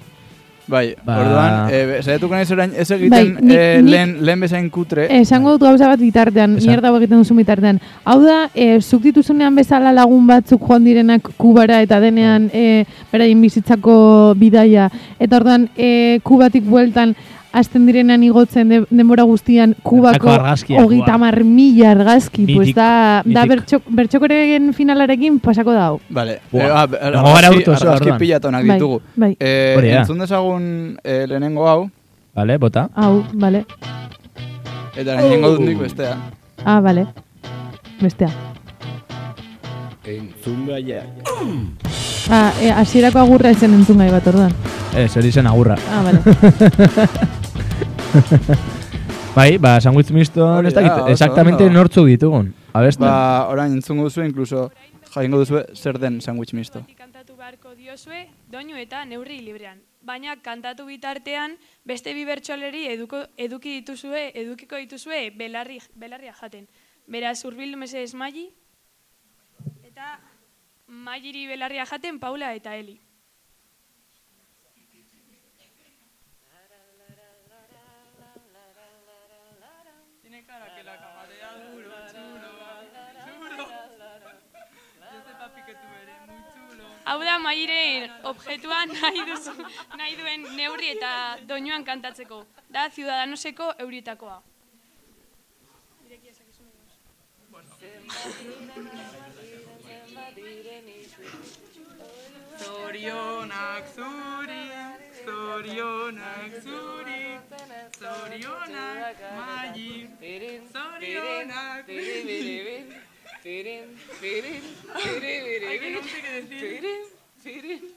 S2: Bai,
S1: Ba-
S2: orduan, eh, saiatuko naiz orain ez egiten
S3: Bai, nik-
S2: eh,
S3: nik-
S2: lehen, lehen bezain kutre.
S3: Eh, Esango dut gauza bat bitartean,
S1: Esan.
S3: mierda hau egiten duzun bitartean. Hau da, e, zuk dituzunean bezala lagun batzuk joan direnak kubara eta denean
S1: Bai.
S3: e, beraien bizitzako bidaia. Eta orduan, e, kubatik bueltan, hasten direnan igotzen de- denbora guztian kubako
S1: Bertako argazkiak,
S3: hogeita
S1: buah.
S3: mar mila argazki.
S1: Mitik,
S3: pues da, da
S1: mitik.
S3: bertxok, bertxokoren finalarekin pasako da hau.
S2: Vale,
S1: Buah.
S2: eh, ah,
S1: Dago gara
S2: argazki-
S1: autoz,
S2: argazki
S1: orduan.
S2: pilatonak
S3: Bai,
S2: ditugu.
S3: bai.
S2: Eh,
S1: Hori da.
S2: entzun dezagun eh, lehenengo hau,
S1: Vale, bota.
S3: Hau, bale.
S2: eta lehenengo dut nik bestea.
S3: Ah, bale. Bestea.
S7: Entzun gaiak.
S3: Ah, e, asierako agurra ezen entzun gai bat orduan.
S1: Ez, hori zen agurra.
S3: Ah, bale.
S1: Bai, ba, sandwich misto,
S2: Hori
S1: ez
S2: da,
S1: dakit,
S2: oso
S1: exactamente
S2: ondo.
S1: nortzu ditugun. Abesten.
S2: Ba, orain entzungo duzu, inkluso jaingo duzu zer den sandwich misto.
S8: kantatu beharko diozue doinu eta neurri librean. Baina kantatu bitartean beste bi bertsoleri eduko, eduki dituzue, edukiko dituzue belarri, belarria jaten. Beraz, urbildu mesedez maili eta mailiri belarria jaten Paula eta Eli. Hau da mairen objetua nahi, duzu, nahi duen neurri eta doinuan kantatzeko. Da Ciudadanoseko eurietakoa.
S9: Zorionak zuri, zorionak zuri, zorionak maili, zorionak... Ay, que no sé qué decir.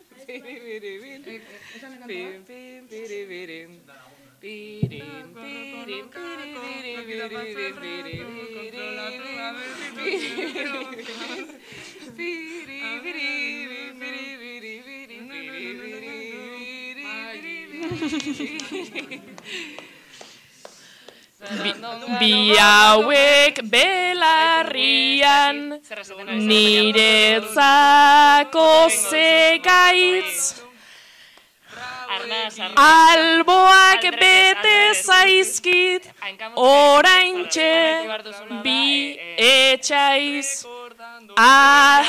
S9: Bi hauek belarrian niretzako zekaitz Alboak bete zaizkit oraintxe bi Ah. etxaiz A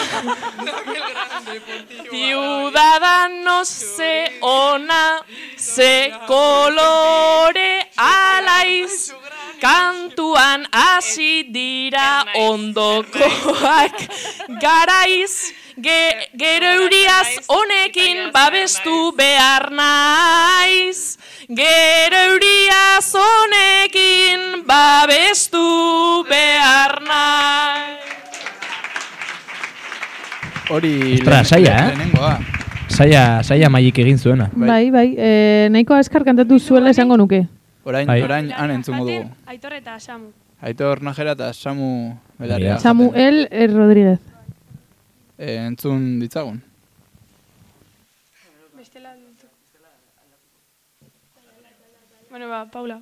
S9: Ciudadanos ze ona ze kolore alaiz Kantuan hasi dira ondokoak garaiz ge, Gero euriaz honekin babestu behar naiz Gero euriaz honekin babestu behar naiz
S2: Hori
S1: Ostras,
S2: lehen-
S1: zaila, eh?
S2: lehenengoa.
S1: Saia, saia maik egin zuena.
S2: Bai.
S3: Bai, bai, e, nahiko askar kantatu zuela esango nuke.
S2: Orain,
S1: Bai.
S2: orain han entzungo dugu.
S8: Aitor eta Samu.
S2: Aitor Najera eta Samu Belarria.
S1: Belarria.
S3: Samuel eh, Rodríguez.
S2: Eh, entzun ditzagun.
S8: Bestela aldatu. Bueno, ba, Paula.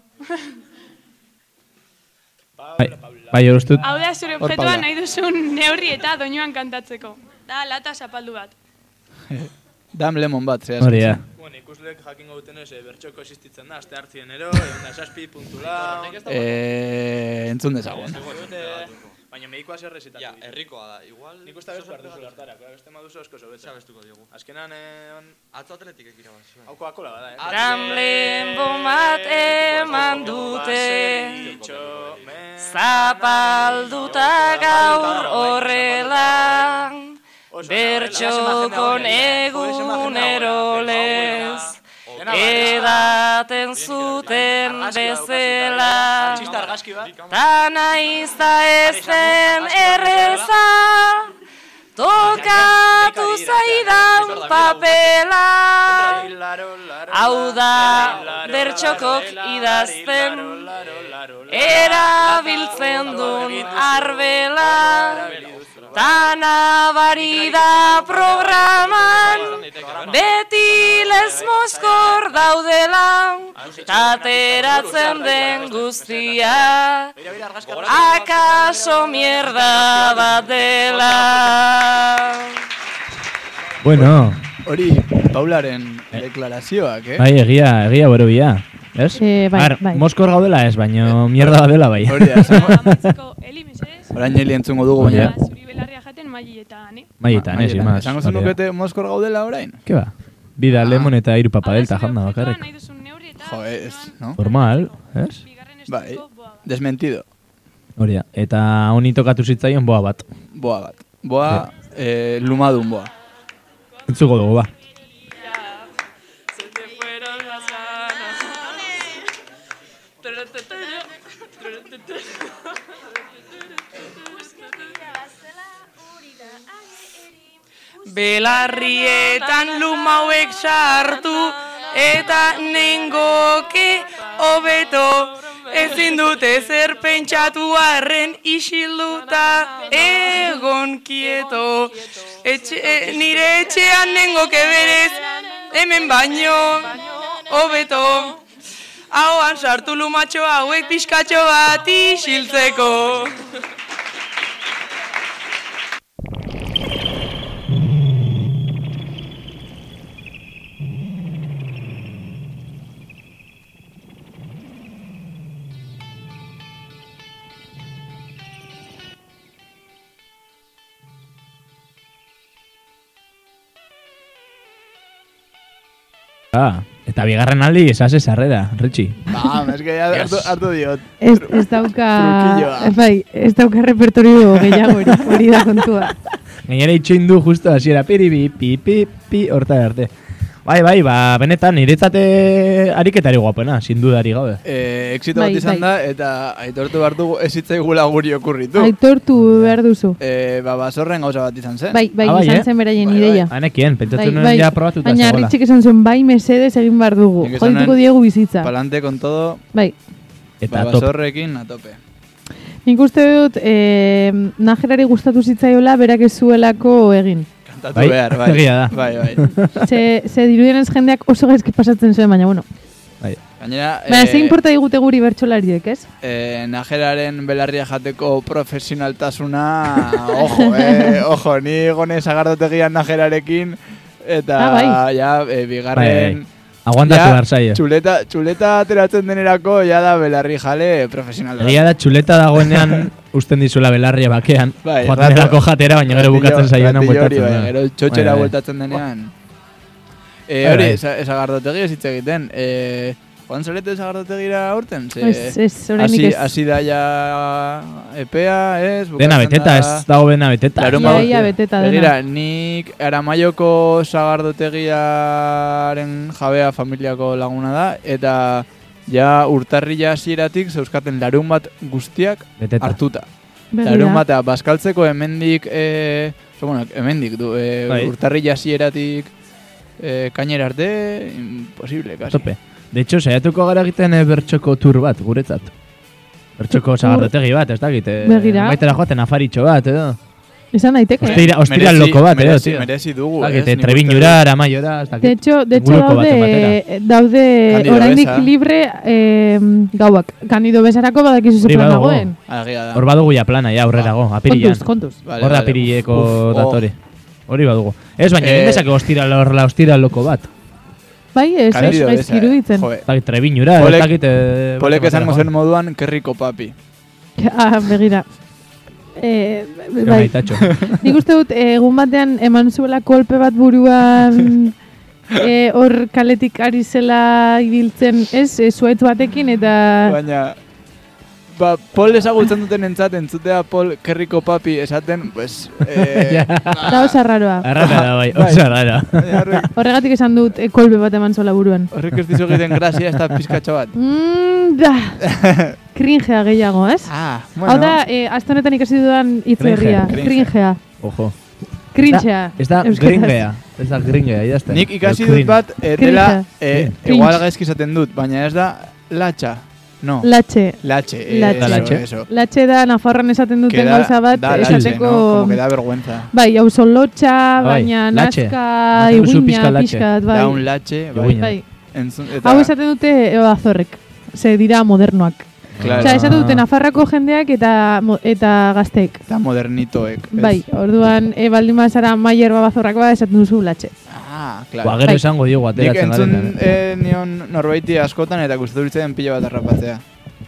S1: Bai, bai hori
S2: Ba,
S1: ustut.
S8: Hau da zure
S2: Hor,
S8: objetua
S2: Paula.
S8: nahi duzun neurri eta doinuan kantatzeko. Da, lata zapaldu bat.
S2: Dam lemon bat, zehaz.
S1: Hori da.
S6: Bueno, ikusleek jakingo dutenez, eh, bertxoko existitzen da, aste hartzien ero, eta saspi puntu lau,
S2: Eh, entzun dezagun.
S6: baina medikoa zer resetatu. Ja,
S10: Herrikoa da, igual...
S6: Nik uste abestu behar duzu hartarako, beste maduzu asko sobete.
S10: abestuko diogu.
S6: Azkenan, eh, on,
S10: Atzo atletik ekira bat, zuen.
S6: hau koakola bada, eh?
S9: Ramlen bomat eman dute Zapalduta gaur horrela Bertxokon egunero lez Edaten zuten bezela Ta naiz da ez den erreza Tokatu zaidan papela Hau da bertxokok idazten Erabiltzen dun arbela Ta nabari da programan Beti lez moskor daudela Tateratzen den guztia Akaso mierda bat dela
S1: Bueno,
S2: Hori, Paularen deklarazioak, eh?
S1: Bai, egia, egia borobia. Ez?
S3: Eh, bai,
S1: Ar,
S3: bai.
S1: Moskor gaudela ez, baino mierda bat dela bai.
S2: Hori da, esango-
S8: Amaitzeko, heli, mesedez,
S2: orain heli entzungo dugu, baina... Bai,
S8: eta zuri belarria jaten mailletan, eh?
S1: Maietan, ez, imaz.
S2: Esango
S1: hori da.
S2: zenukete Ah. Moskor gaudela orain?
S1: Ke ba? Bida, lemon eta hiru papadelta
S8: Arrazoi
S1: Ba, janda
S8: objektua
S1: bakarrik.
S8: Nahi duzun neurri eta...
S2: Jo, ez, no?
S1: Normal, ez?
S8: Bigarren
S2: Bai.
S8: estuko, boa, bai.
S2: Desmentido.
S1: Hori da. Eta honi tokatu zitzaion boa bat.
S2: Boa bat. Boa,
S1: Bai.
S2: eh, lumadun boa.
S1: Entzuko dugu, ba.
S5: Se te fueron las ganas. Belarrietan luma hauek sartu eta nengoke hobeto ezin dute zer pentsatu arren isilduta egon kieto Etxe, e, nire etxean nengoke berez hemen baino hobeto Ahoan sartu lumatxo hauek pixkatxo bat isiltzeko.
S1: Ah, eta bigarren aldi, esase sarrera, Richie.
S2: Ba, es que ya hartu, hartu diot.
S3: Ez, ez dauka...
S2: Trukilloa.
S3: Bai, ez dauka repertorio gehiago hori, hori da kontua.
S1: Gainera itxoin du justo hasiera piribi, pi, pi, pi, horta arte. Bai, bai, ba, benetan niretzate ariketari guapena, sin dudari gabe.
S2: Eh, exito
S3: Bai,
S2: bat izan da, eta aitortu behar dugu ez zitzaigula guri okurritu.
S3: Aitortu behar duzu.
S2: Eh, ba, basorren gauza bat izan zen.
S3: Bai, bai,
S1: Ah, bai,
S3: izan
S1: eh?
S3: zen beraien
S2: Bai, bai.
S3: ideia.
S1: Hanekien,
S3: Bai,
S1: pentsatu nuen
S3: bai.
S1: ja probatuta
S3: Baina
S1: zegoela.
S3: Ritxik esan zuen, bai, mesedez egin behar dugu.
S2: Nik esan
S3: Jodituko
S2: nuen-
S3: diegu bizitza.
S2: Palante con todo,
S3: Bai.
S1: Eta
S2: ba,
S1: top.
S2: basorrekin a tope.
S3: Nik uste dut, eh, najerari gustatu zitzaiola, berak ez zuelako egin.
S2: Kantatu
S1: Bai,
S2: behar, bai.
S1: egia da.
S2: Bai, bai.
S3: Ze, ze dirudienez jendeak oso gaizki pasatzen zuen, baina, bueno.
S1: Bai.
S2: Gainera,
S3: Baina, ze inporta digute guri bertsolariek, ez?
S2: eh, najeraren belarria jateko profesionaltasuna, ojo, eh, ojo, ni gonez agardotegian najerarekin, eta
S3: Ah, bai.
S2: ja, eh, bigarren...
S1: Bai, Aguantatu
S2: ja,
S1: behar zaio.
S2: Txuleta, txuleta ateratzen denerako, ja da belarri jale profesional. da.
S1: Egia da txuleta dagoenean usten dizuela belarria bakean.
S2: Bai,
S1: joaten
S2: rato-
S1: delako jatera, baina gero
S2: Ratillo-
S1: bukatzen zaioenan
S2: ratillo hori,
S1: bueltatzen
S2: bai,
S1: da.
S2: Gero txotxera
S1: Bai, bai.
S3: Ba.
S2: bueltatzen denean. Eh,
S1: Bai,
S2: hori,
S1: bai.
S2: esa- esagardotegi ez hitz egiten. Eh, Juan Zarete esagardotegira aurten? Ze-
S3: Ez, ez,
S2: eh, Hasi,
S3: eh, oraindik ez.
S2: hasi da ja epea, ez?
S1: Dena
S2: bukatzen
S1: beteta,
S2: da-
S1: ez dago dena beteta.
S2: Larun
S3: Ia,
S2: bat-
S3: ia Bai, beteta dena.
S2: Begira, nik Aramaioko sagardotegiaren jabea familiako laguna da, eta ja urtarrila hasieratik zeuzkaten larun bat guztiak
S1: Beteta.
S2: hartuta.
S3: Begira.
S2: Larun bata, Baskaltzeko hemendik, eh, oso, bueno, hemendik du, eh,
S1: Bai.
S2: urtarrila hasieratik eh, kainera arte, imposible, kasi.
S1: Tope. De hecho, saiatuko gara egiten eh, bertxoko tur bat, guretzat. Bertxoko sagardotegi bat, ez dakit. eh,
S3: Begira. Eh.
S1: Baitera joaten afaritxo bat, edo.
S3: Esan daiteke.
S1: Ostira- ostiral
S2: Merezi-
S1: loko bat, eh, edo,
S2: merezi,
S1: tio.
S2: merezi dugu, eh, ez,
S1: Dakite,
S2: nik uste
S1: trebiñura, eh, aramaiora, ez
S3: De
S1: dakit.
S3: hecho, de hecho
S1: Inguruko baten batera.
S3: daude, daude
S2: Candido
S3: oraindik
S2: Besa.
S3: libre eh, gauak. Kandido bezarako badakizu
S1: Hori
S3: ze plan
S1: badago.
S3: dagoen.
S2: Agia da.
S1: Hor badugu ja plana, ja, aurrerago,
S2: Ah.
S1: apirilan.
S3: Kontuz, kontuz.
S2: Vale,
S1: Hor da
S2: vale.
S1: apirileko
S2: Uf, oh.
S1: datori. Hori badugu. Ez, baina
S2: Eh,
S1: egin dezake ostiral horrela ostiral loko bat.
S3: Bai, ez, ez,
S2: Candido
S3: gaizki
S2: Besa, eh.
S3: iruditzen.
S2: Joe,
S1: Ez dakit trebiñura, ez
S2: Polek-
S1: dakit... eh,
S2: Polek
S1: beste
S2: esango
S1: batera
S2: zen moduan, kerriko papi.
S3: Ah, begira. Eh,
S1: joan.
S3: bai.
S1: Maitatxo.
S3: Nik uste dut, eh, egun batean eman zuela kolpe bat buruan eh, hor kaletik ari zela ibiltzen, ez, eh, zuaitz batekin, eta
S2: Baina, ba, Pol ezagutzen duten entzat, entzutea Pol kerriko papi esaten, pues... Eh,
S3: da oso raroa.
S1: Arrara da, bai,
S2: Bai.
S1: oso arrara.
S2: horrek,
S3: Horregatik esan dut, eh, kolpe bat eman zuela buruan.
S2: horrek ez dizu egiten grazia ez da pizkatxo bat.
S3: Mm, da, kringea gehiago, ez?
S2: Ah,
S3: Hau da, eh, aste honetan ikasi dudan hitz
S1: Cringe,
S3: berria.
S2: cringe.
S3: Kringea.
S1: Ojo.
S3: Kringea.
S1: Ez da
S3: Euskaraz.
S1: gringea. Ez da gringea, idazte.
S2: Nik ikasi dut bat, eh, dela, eh,
S3: Cringe.
S2: igual gaizki esaten dut, baina ez da latxa. No,
S3: Latxe.
S2: latxe. eh,
S3: Latxe.
S2: eso,
S1: Latxe.
S2: eso.
S3: Latxe da, Nafarroan esaten
S2: Que
S3: duten
S2: da-
S3: gauza bat,
S2: da latxe,
S3: esateko...
S2: no? Como que da vergüenza.
S3: Bai, auzo lotxa,
S1: Bai,
S3: baina
S1: latxe.
S3: nazka,
S1: Ematen duzu pixka
S3: iguina,
S1: latxe.
S3: pixka, bat,
S2: Da un
S3: bai.
S2: latxe,
S1: Iguina.
S2: bai.
S3: bai.
S2: Entzun, eta,
S3: Hau esaten dute eh, azorrek, ze dira modernoak.
S2: claro,
S3: Osea, esaten dute
S1: Ah.
S3: Nafarrako jendeak eta, mo- eta gazteek.
S2: eta modernitoek. ez?
S3: Bai, orduan, e, baldin bazara maier babazorrakoa esaten duzu latxe.
S2: Ah, klaro.
S1: Ba, gero esango diogu
S2: Nik
S1: ateratzen
S2: entzun
S1: garen.
S2: eh, nion norbaiti askotan eta gustatu ditzen pila bat harrapatzea.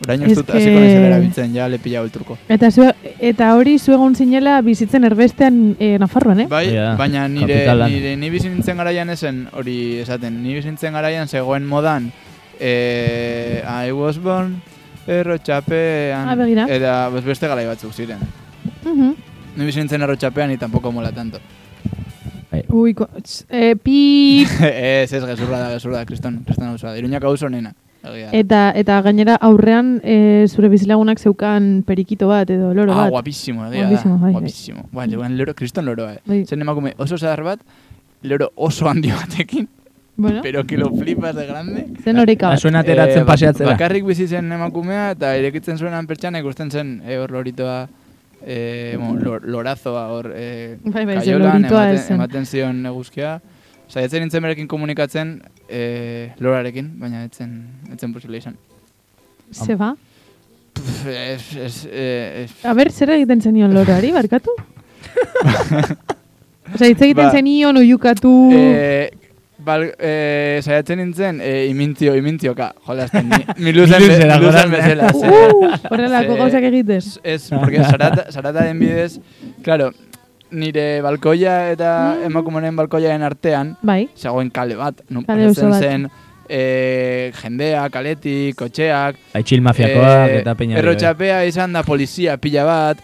S2: Orain ez
S3: Ez
S2: dut
S3: que-
S2: hasiko naizela erabiltzen, ja le pila ultruko.
S3: Eta, zue, eta hori zuegon zinela bizitzen erbestean e, Nafarroan, eh?
S2: Bai,
S1: Hori da,
S2: baina nire,
S1: kapitalan.
S2: nire ni bizi nintzen garaian esen hori esaten. Ni bizi nintzen garaian zegoen modan eh, I was born errotxapean.
S3: Ah, begira.
S2: Eta pues, beste garai batzuk ziren.
S3: Mhm.
S2: Ni bizi nintzen errotxapean y tampoco mola tanto.
S1: Bai.
S3: Ui, ko, tx, e, pip,
S2: ez, ez, gezurra da, gezurra da, kriston, kriston hau da. Iruñak hau nena.
S1: Bai.
S2: Egia da.
S3: eta, eta gainera aurrean e, zure bizilagunak zeukan perikito bat edo loro
S2: Ah,
S3: bat.
S2: guapísimo, egia da.
S3: Guapísimo, bai, bai.
S2: Guapísimo. Bai, zegoen loro, kriston loroa, eh.
S3: Bai.
S2: Zen emakume oso zahar bat, loro oso handi batekin,
S3: bueno,
S2: pero que lo flipas de grande.
S3: zen horeka bat.
S1: Asuen Ah, ateratzen
S2: bak-
S1: paseatzera.
S2: Eh, ba- Bakarrik bizi zen emakumea eta irekitzen zuen pertsana ikusten zen eh, hor loritoa, eh, bueno, lor, lorazoa hor eh,
S3: Bai, bai, ze
S2: kaiolan
S3: loritoa
S2: ematen,
S3: zen.
S2: ematen zion eguzkia. Saiatzen nintzen berekin komunikatzen eh, lorarekin, baina etzen, etzen posible izan.
S3: Ze ba?
S2: Pff, ez, ez, eh, ez,
S3: A ber, zer egiten zenion loroari, barkatu? Osa, hitz egiten
S2: Ba.
S3: zenion, oiukatu...
S2: Eh, bal, eh, saiatzen nintzen, eh, imintio, imintioka, jolazten, ni, mi luzen, be,
S1: Luzera, jolasten.
S2: luzen bezala. ze-
S3: Uh, horrelako
S2: ze-
S3: gauzak egiten.
S2: Ez, porque sarata, sarataren bidez, claro, nire balkoia eta
S3: Mm.
S2: emakumonen balkoiaren artean,
S3: Bai,
S2: zegoen kale bat, non
S3: Kale oso
S2: pasatzen
S3: bat.
S2: zen, eh, jendea, kaletik, kotxeak,
S1: Aitxil mafiakoak
S2: eh,
S1: eta peina. hori, bai.
S2: errotxapea izan da polizia pila bat,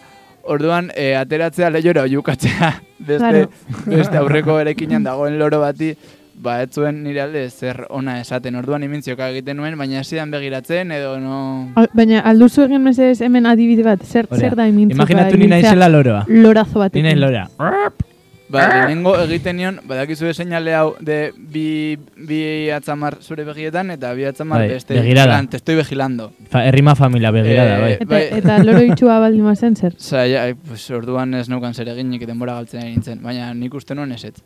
S2: orduan eh, ateratzea lehiora oiukatzea beste,
S3: Claro.
S2: beste aurreko erekinan dagoen loro bati, ba ez zuen nire alde zer ona esaten, orduan imintzioka egiten nuen, baina ez zidan begiratzen edo no...
S3: Al- baina alduzu egin mesedez hemen adibide bat, zer,
S1: Hori
S3: zer da imintzuka?
S1: Imaginatu ni
S3: imintzea
S1: naizela loroa.
S3: Lorazo
S1: Ni
S3: batekin.
S1: naiz lora.
S2: Ba,
S3: Ah!
S2: lehenengo egiten nion, badakizu seinale hau de bi, bi atzamar zure begietan eta bi atzamar
S1: Bai,
S2: beste.
S1: begirada.
S2: Lan, te estoy vigilando.
S1: Fa, herrima familia begira da,
S2: Eh,
S1: bai.
S3: Eta,
S2: Bai.
S3: eta loro itxua baldin bazen zer.
S2: Osa, ja, eh, pues, orduan ez neukan zer eginik denbora galtzen ari nintzen, baina nik uste nuen ezetz.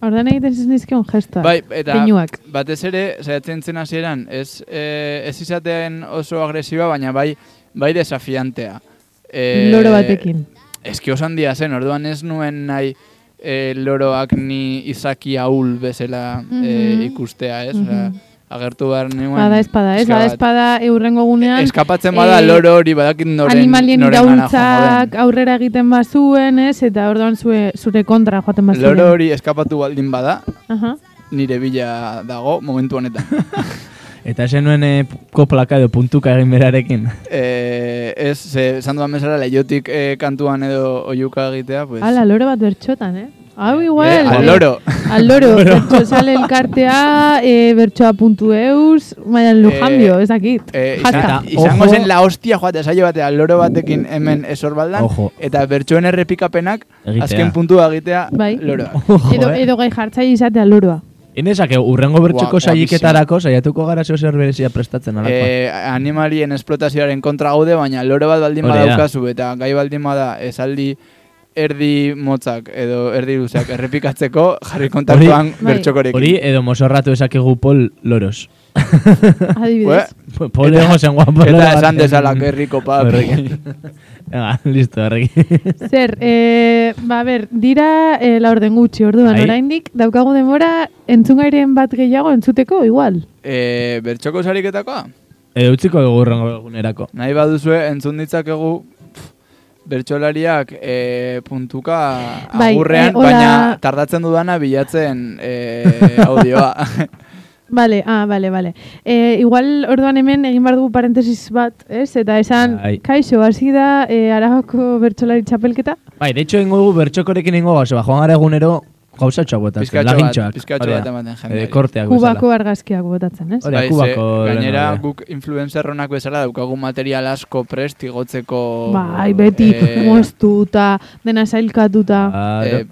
S3: Ordan egiten ez nizkion gestoa.
S2: Bai, eta
S3: Pinuak.
S2: batez ere, saiatzen zen hasieran, ez, eh, ez izaten oso agresiba, baina bai, bai desafiantea. Eh,
S3: loro batekin.
S2: Eski oso handia zen, orduan ez nuen nahi eh, loroak ni izaki ahul bezala
S3: Mhm.
S2: eh, ikustea, ez? Osea,
S3: Mhm.
S2: agertu behar nuen.
S3: Bada espada, ez?
S2: pixka
S3: Bada
S2: bat.
S3: espada eurrengo gunean.
S2: Eskapatzen bada
S3: eh,
S2: loro hori badakit noren,
S3: animalien
S2: noren gana
S3: iraultzak ah,
S2: joango
S3: aurrera egiten bazuen, ez? Eta orduan zue, ba, zure kontra joaten
S2: den.
S3: bazuen.
S2: Loro hori eskapatu baldin bada,
S3: Aha.
S2: nire bila dago momentu honetan.
S1: Eta esen nuen eh, koplaka edo puntuka egin berarekin.
S2: eh, ez, ze, esan duan bezala lehiotik eh, kantuan edo oiuka egitea, pues...
S3: Ala, loro bat bertxotan, eh? Hau
S2: eh,
S3: igual.
S2: al
S3: eh,
S2: loro.
S3: Al loro. Bertxozale elkartea, eh, bertxoa.eus, baina lujambio, ez dakit.
S2: Eh,
S3: Jata.
S2: izan, izango
S1: Ojo.
S2: zen la hostia joatea saio batea loro batekin hemen esorbaldan
S1: Ojo.
S2: eta bertsoen errepikapenak
S1: Egitea.
S2: azken puntua egitea
S3: Bai.
S2: loroak.
S3: Edo,
S1: eh.
S3: edo gai jartzaile izatea loroa.
S1: Inezak, urrengo bertxoko
S2: Guau,
S1: saiketarako saiatuko gara zeo zer berezia prestatzen alakoa.
S2: Eh, animalien esplotazioaren kontra gaude, baina loro bat baldin
S1: Hori da.
S2: badaukazu eta gai baldin bada esaldi erdi motzak edo erdi luzak errepikatzeko jarri kontaktuan
S3: Bai.
S1: Hori
S2: bertxokorekin.
S1: edo mozorratu esakegu pol loros.
S2: Ue,
S3: Adibidez.
S1: Pol ego zen guapo.
S2: eta
S1: loro bat.
S2: esan dezala, que rico papi.
S1: Horrekin. Venga, listo, horrekin.
S3: Zer, eh, ba, a ber, dira eh, la orden gutxi, orduan,
S1: Bai.
S3: oraindik daukagu denbora entzungairen bat gehiago entzuteko, igual.
S2: eh, bertxoko sariketakoa?
S1: Edo utziko dugu urrengo egunerako.
S2: Nahi baduzue, entzun ditzakegu pff, bertsolariak e, puntuka
S3: Bai,
S2: agurrean,
S3: eh, hola-
S2: baina tardatzen dudana bilatzen e, audioa.
S3: Vale, ah, vale, vale. Eh, igual orduan hemen egin behar dugu parentesis bat, ez? Eta esan,
S1: Bai.
S3: kaixo, hasi da eh, arabako bertsolari txapelketa.
S1: Bai, de hecho, ingo dugu bertxokorekin ingo gauza, ba, joan gara egunero gauzatxoa
S2: Pizkatxo
S1: botatzen,
S2: bat-
S1: lagintxoak.
S2: pizkatxo
S1: hori da.
S2: bat ematen jendeari.
S1: Eh, Korteak bezala.
S3: Kubako argazkiak botatzen, ez?
S1: Hori da,
S2: Bai, ze,
S1: Kubako lehen
S2: gainera
S1: hori da.
S2: guk influencerronak bezala daukagu material asko prest igotzeko...
S3: Bai, beti
S2: eh,
S3: moztuta, dena zailkatuta.
S1: Claro.
S2: eh,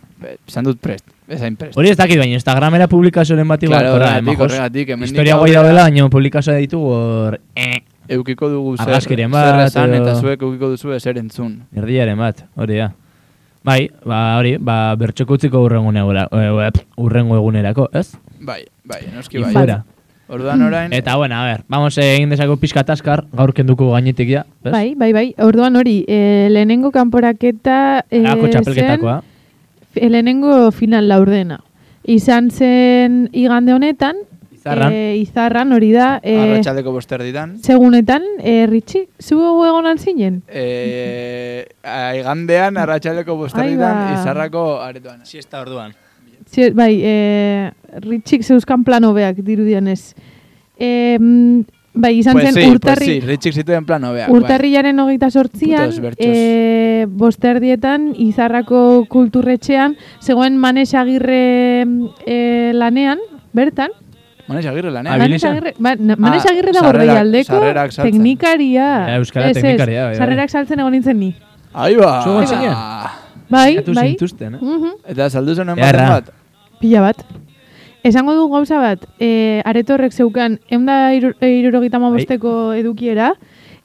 S2: Esan dut prest, ezain prest.
S1: Hori ez dakit baina, Instagramera publikazioaren bat igual,
S2: Claro,
S1: horrela,
S2: horregatik,
S1: emajos,
S2: horregatik, hemendik
S1: Historia guai
S2: aurrera-
S1: daudela, baina publikazioa ditugu hor, eh,
S2: Eukiko dugu zer, zer
S1: Argazkiren bat,
S2: esan
S1: edo-
S2: eta zuek eukiko duzu zer entzun.
S1: erdiaren bat, hori da. Bai, ba, hori, ba, bertxoko utziko urrengo, negura, urrengo e, egunerako, ez?
S2: Bai, bai, noski
S1: Y
S2: bai.
S1: fuera.
S2: Orduan orain...
S1: Eta, bueno, a ver, vamos eh, egin dezako pixka taskar, gaur kenduko gainetik ja, bez?
S3: Bai, bai, bai. Orduan hori, eh, lehenengo kanporaketa eh,
S1: Halako
S3: zen
S1: txapelketakoa.
S3: fi- lehenengo final laurdena. izan zen igande honetan,
S1: Izarran.
S3: eh, izarran hori da, e,
S2: Arratxaldeko boster ditan.
S3: segunetan, e, Ritxi, zu egonan zinen?
S2: E, aigandean, arratxaldeko boster
S3: Ai,
S2: ditan,
S3: ba.
S2: izarrako aretoan.
S11: Siesta orduan.
S3: Zer, bai, e, Ritxik zeuzkan plan hobeak dirudienez. E, mm, bai, izan
S2: Pues
S3: zen
S2: sí,
S3: urtarri,
S2: pues sí, ritxik zituen plan hobeak.
S3: Urtarrilaren hogeita sortzian,
S2: Putos bertsos.
S3: e, bosterdietan, izarrako kulturretxean, zegoen Manes Agirre e, lanean, bertan.
S2: Bai. Manes agirre lan, eh?
S1: Abili-
S3: Manes
S1: Abilisa?
S3: Agirre, ba, na- Manes
S2: Ah,
S3: Agirre da
S2: sarrerak-
S3: gordeialdeko
S2: sarrerak saltzen.
S3: teknikaria.
S1: Ja, euskara
S3: Ez, ez,
S1: teknikaria, bai, bai.
S3: Sarrerak saltzen egon nintzen ni.
S2: Ahí ba!
S1: Zu egon zinen?
S3: Bai,
S1: Eskatu
S3: bai.
S1: zintuzten, eh?
S3: Mhm,
S2: Eta saldu zen
S1: Erra.
S2: ematen bat?
S3: Pila bat. Esango du gauza bat, e, aretorrek zeukan, eunda irurogita mabosteko edukiera,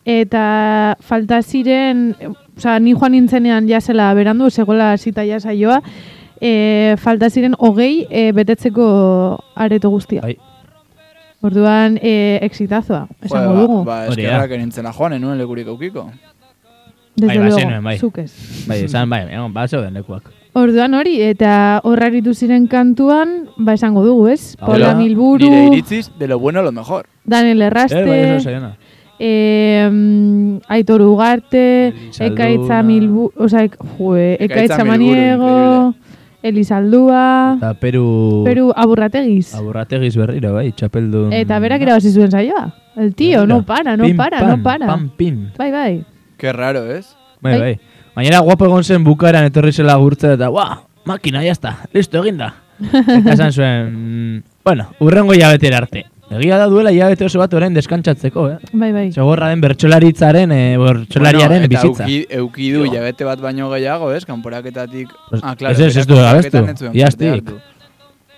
S3: eta falta ziren, oza, ni joan nintzenean jazela berandu, segola zita jasaioa, e, falta ziren hogei e, betetzeko areto guztia.
S1: Bai.
S3: Orduan, e, exitazoa, esango
S1: Bai,
S2: Joder,
S3: dugu.
S2: Ba, ba
S1: Hori da.
S2: eskerrak enintzena joan, enuen lekurik aukiko.
S3: Desde
S1: Bai, ba,
S3: luego,
S1: zenuen, bai.
S3: zuk ez.
S1: Bai, esan, bai, egon, bat zeuden lekuak.
S3: Orduan hori, eta horraritu ziren kantuan, ba esango dugu, ez?
S1: Hau
S3: Paula
S1: da,
S3: Milburu,
S2: Nire iritziz, de lo bueno a lo mejor.
S3: Daniel Erraste,
S1: Eh, bai, oso saiona.
S3: eh, mm, Aitor Ugarte,
S1: Elizalduna.
S3: Ekaitza Milbu, o sea, ek- jue,
S2: Ekaitza
S3: Ekaitza
S2: Milburu,
S3: Maniego, Elizaldua,
S1: Eta Peru...
S3: Peru Aburrategiz.
S1: Aburrategiz berriro, bai, txapeldun...
S3: Eta berak irabazi zuen saioa. El tío, no para, no
S1: Pim,
S3: para,
S1: pam,
S3: no para.
S1: Pam, pim.
S3: Bai, bai.
S2: Qué raro, ez?
S1: Bai,
S3: Bai.
S1: bai. Baina guapo egon zen bukaeran etorri zela gurtza eta, ua, makina, jazta, listo, eginda. Eta esan zuen, "Mm, bueno, urrengo jabetera arte. Egia da duela jabete oso bat orain deskantzatzeko, eh?
S3: Bai, bai.
S1: Segorra den bertsolaritzaren, e, bertsolariaren
S2: eta
S1: bizitza.
S2: Euki, euki du jabete bat baino gehiago, ez? Kanporaketatik...
S1: Pues,
S2: ah, claro,
S1: ez, ez, ez du
S2: berak
S1: gabestu.
S2: kanporaketan ez zuen
S1: Iaztik.
S2: parte hartu.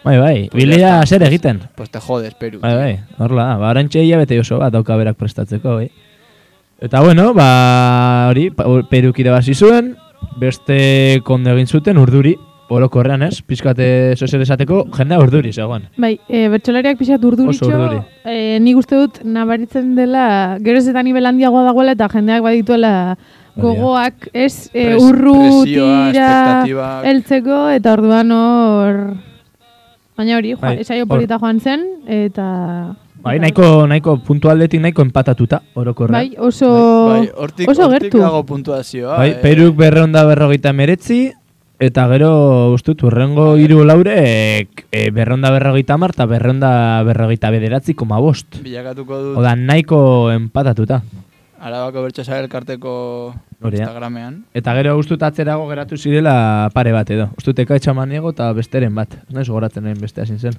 S1: Bai, bai,
S2: Pues
S1: bilera
S2: ya está.
S1: zer egiten.
S2: Pues te jodes, Peru.
S1: Bai, bai, horla, da. ba, orantxe hilabete oso bat dauka berak prestatzeko, bai. Eta bueno, ba, hori, pa- peruk irabazi zuen, beste konde egin zuten, urduri, orokorrean ez, pizkate sozer esateko, jendea urduri zegoen.
S3: Bai, e, bertsolariak pixat urduritxo,
S1: Oso urduri.
S3: e, nik uste dut nabaritzen dela, geroz eta nivel handiagoa dagoela eta jendeak badituela gogoak, ez, e,
S2: Pres- presioa,
S3: urrutira
S2: espektatibak.
S3: heltzeko eta orduan hor... Baina hori, joa,
S1: Bai,
S3: saio
S1: hor.
S3: polita joan zen, eta...
S1: Bai, nahiko, nahiko puntualdetik nahiko empatatuta, orokorrean.
S3: Bai, oso,
S2: Bai, hortik,
S3: oso
S2: hortik
S3: gertu.
S2: dago puntuazioa.
S1: bai
S2: eh.
S1: peruk berreunda berrogeita meretzi, eta gero, ustut, urrengo hiru laurek e, berreunda berrogeita mar, eta berreunda berrogeita bederatzi koma bost.
S2: Bilakatuko dut
S1: Oda, nahiko empatatuta.
S2: Arabako Bertsozare elkarteko
S1: Hori eh. da.
S2: Instagramean.
S1: Eta gero ustut atzerago geratu zirela pare bat edo. Ustut ekaitza maniego eta besteren bat. Naiz gogoratzen egin beste hasi zen.